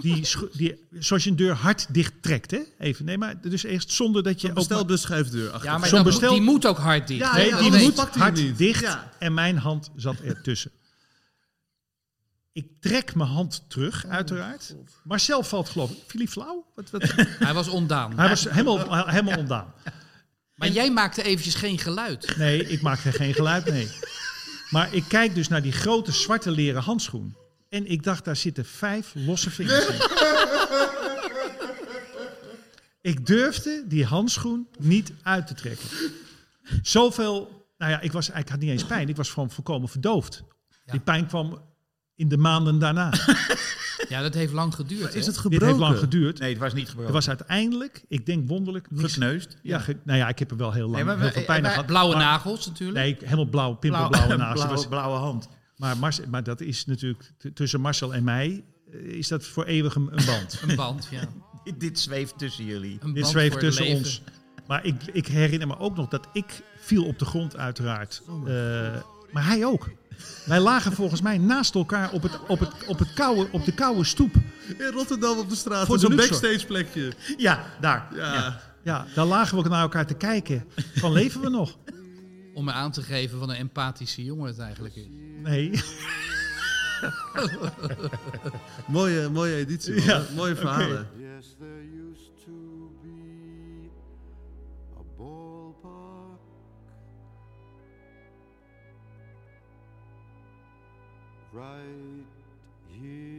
Speaker 4: Die, scho- die, zoals je een deur hard dicht trekt, hè? Even, nee, maar dus eerst zonder dat je... ook maar-
Speaker 5: Bestelbus schuifdeur achter.
Speaker 3: Maar
Speaker 4: Zo'n
Speaker 3: dat-
Speaker 4: bestel-
Speaker 3: Die moet ook hard dicht.
Speaker 5: Ja,
Speaker 3: hè?
Speaker 4: Nee,
Speaker 5: Ah, ja,
Speaker 4: die
Speaker 5: anders
Speaker 4: moet
Speaker 5: pakt hij hem
Speaker 4: hard
Speaker 5: niet.
Speaker 4: dicht
Speaker 5: Ja.
Speaker 4: en mijn hand zat ertussen. Ik trek mijn hand terug,
Speaker 5: Oh,
Speaker 4: uiteraard. Marcel valt geloof ik. Viel hij flauw? Wat, wat?
Speaker 3: Hij was ondaan.
Speaker 4: Hij was helemaal, helemaal ondaan.
Speaker 3: Maar jij maakte eventjes geen geluid.
Speaker 4: Nee, ik maakte geen geluid mee. Maar ik kijk dus naar die grote zwarte leren handschoen. En ik dacht, daar zitten vijf losse vingers in. Ik durfde die handschoen niet uit te trekken. Zoveel, nou ja, ik, was, ik had niet eens pijn. Ik was gewoon volkomen verdoofd. Die pijn kwam in de maanden daarna.
Speaker 3: Ja, dat heeft lang geduurd.
Speaker 5: Is
Speaker 3: hè?
Speaker 5: het
Speaker 4: Dit
Speaker 5: gebroken?
Speaker 4: heeft lang geduurd.
Speaker 1: Nee, het was niet gebroken.
Speaker 4: Er was uiteindelijk, ik denk wonderlijk, niks.
Speaker 1: gekneusd.
Speaker 4: Ja, ge- nou ja, ik heb er wel heel lang
Speaker 1: Nee, maar we-
Speaker 4: heel veel pijn aan
Speaker 1: wij-
Speaker 4: gehad.
Speaker 3: Blauwe
Speaker 4: Maar-
Speaker 3: nagels natuurlijk.
Speaker 4: Nee, helemaal blauw, pimpelblauwe naast.
Speaker 1: blauwe, blauwe hand.
Speaker 4: Maar, Marce- maar dat is natuurlijk t- tussen Marcel en mij eh, is dat voor eeuwig een, een band.
Speaker 3: Een band, ja. Een
Speaker 1: Dit, dit zweeft tussen jullie.
Speaker 3: band
Speaker 4: Dit
Speaker 3: voor
Speaker 4: zweeft
Speaker 3: het
Speaker 4: tussen
Speaker 3: leven.
Speaker 4: ons. Maar ik, ik herinner me ook nog dat ik viel op de grond uiteraard.
Speaker 3: Oh
Speaker 4: Eh, maar hij ook. Wij lagen volgens mij naast elkaar op, het, op, het, op, het koude, op de koude stoep.
Speaker 5: In Rotterdam op de straat.
Speaker 4: Voor
Speaker 5: Voor zo'n
Speaker 4: de Luxor.
Speaker 5: backstage plekje.
Speaker 1: Ja, daar.
Speaker 5: Ja.
Speaker 4: Ja, daar lagen we naar elkaar te kijken. Van leven we nog?
Speaker 3: Om me aan te geven wat een empathische jongen het eigenlijk is.
Speaker 4: Nee.
Speaker 5: Mooie, mooie editie. man. Mooie verhalen.
Speaker 2: Yes, there used to be a ballpark right here.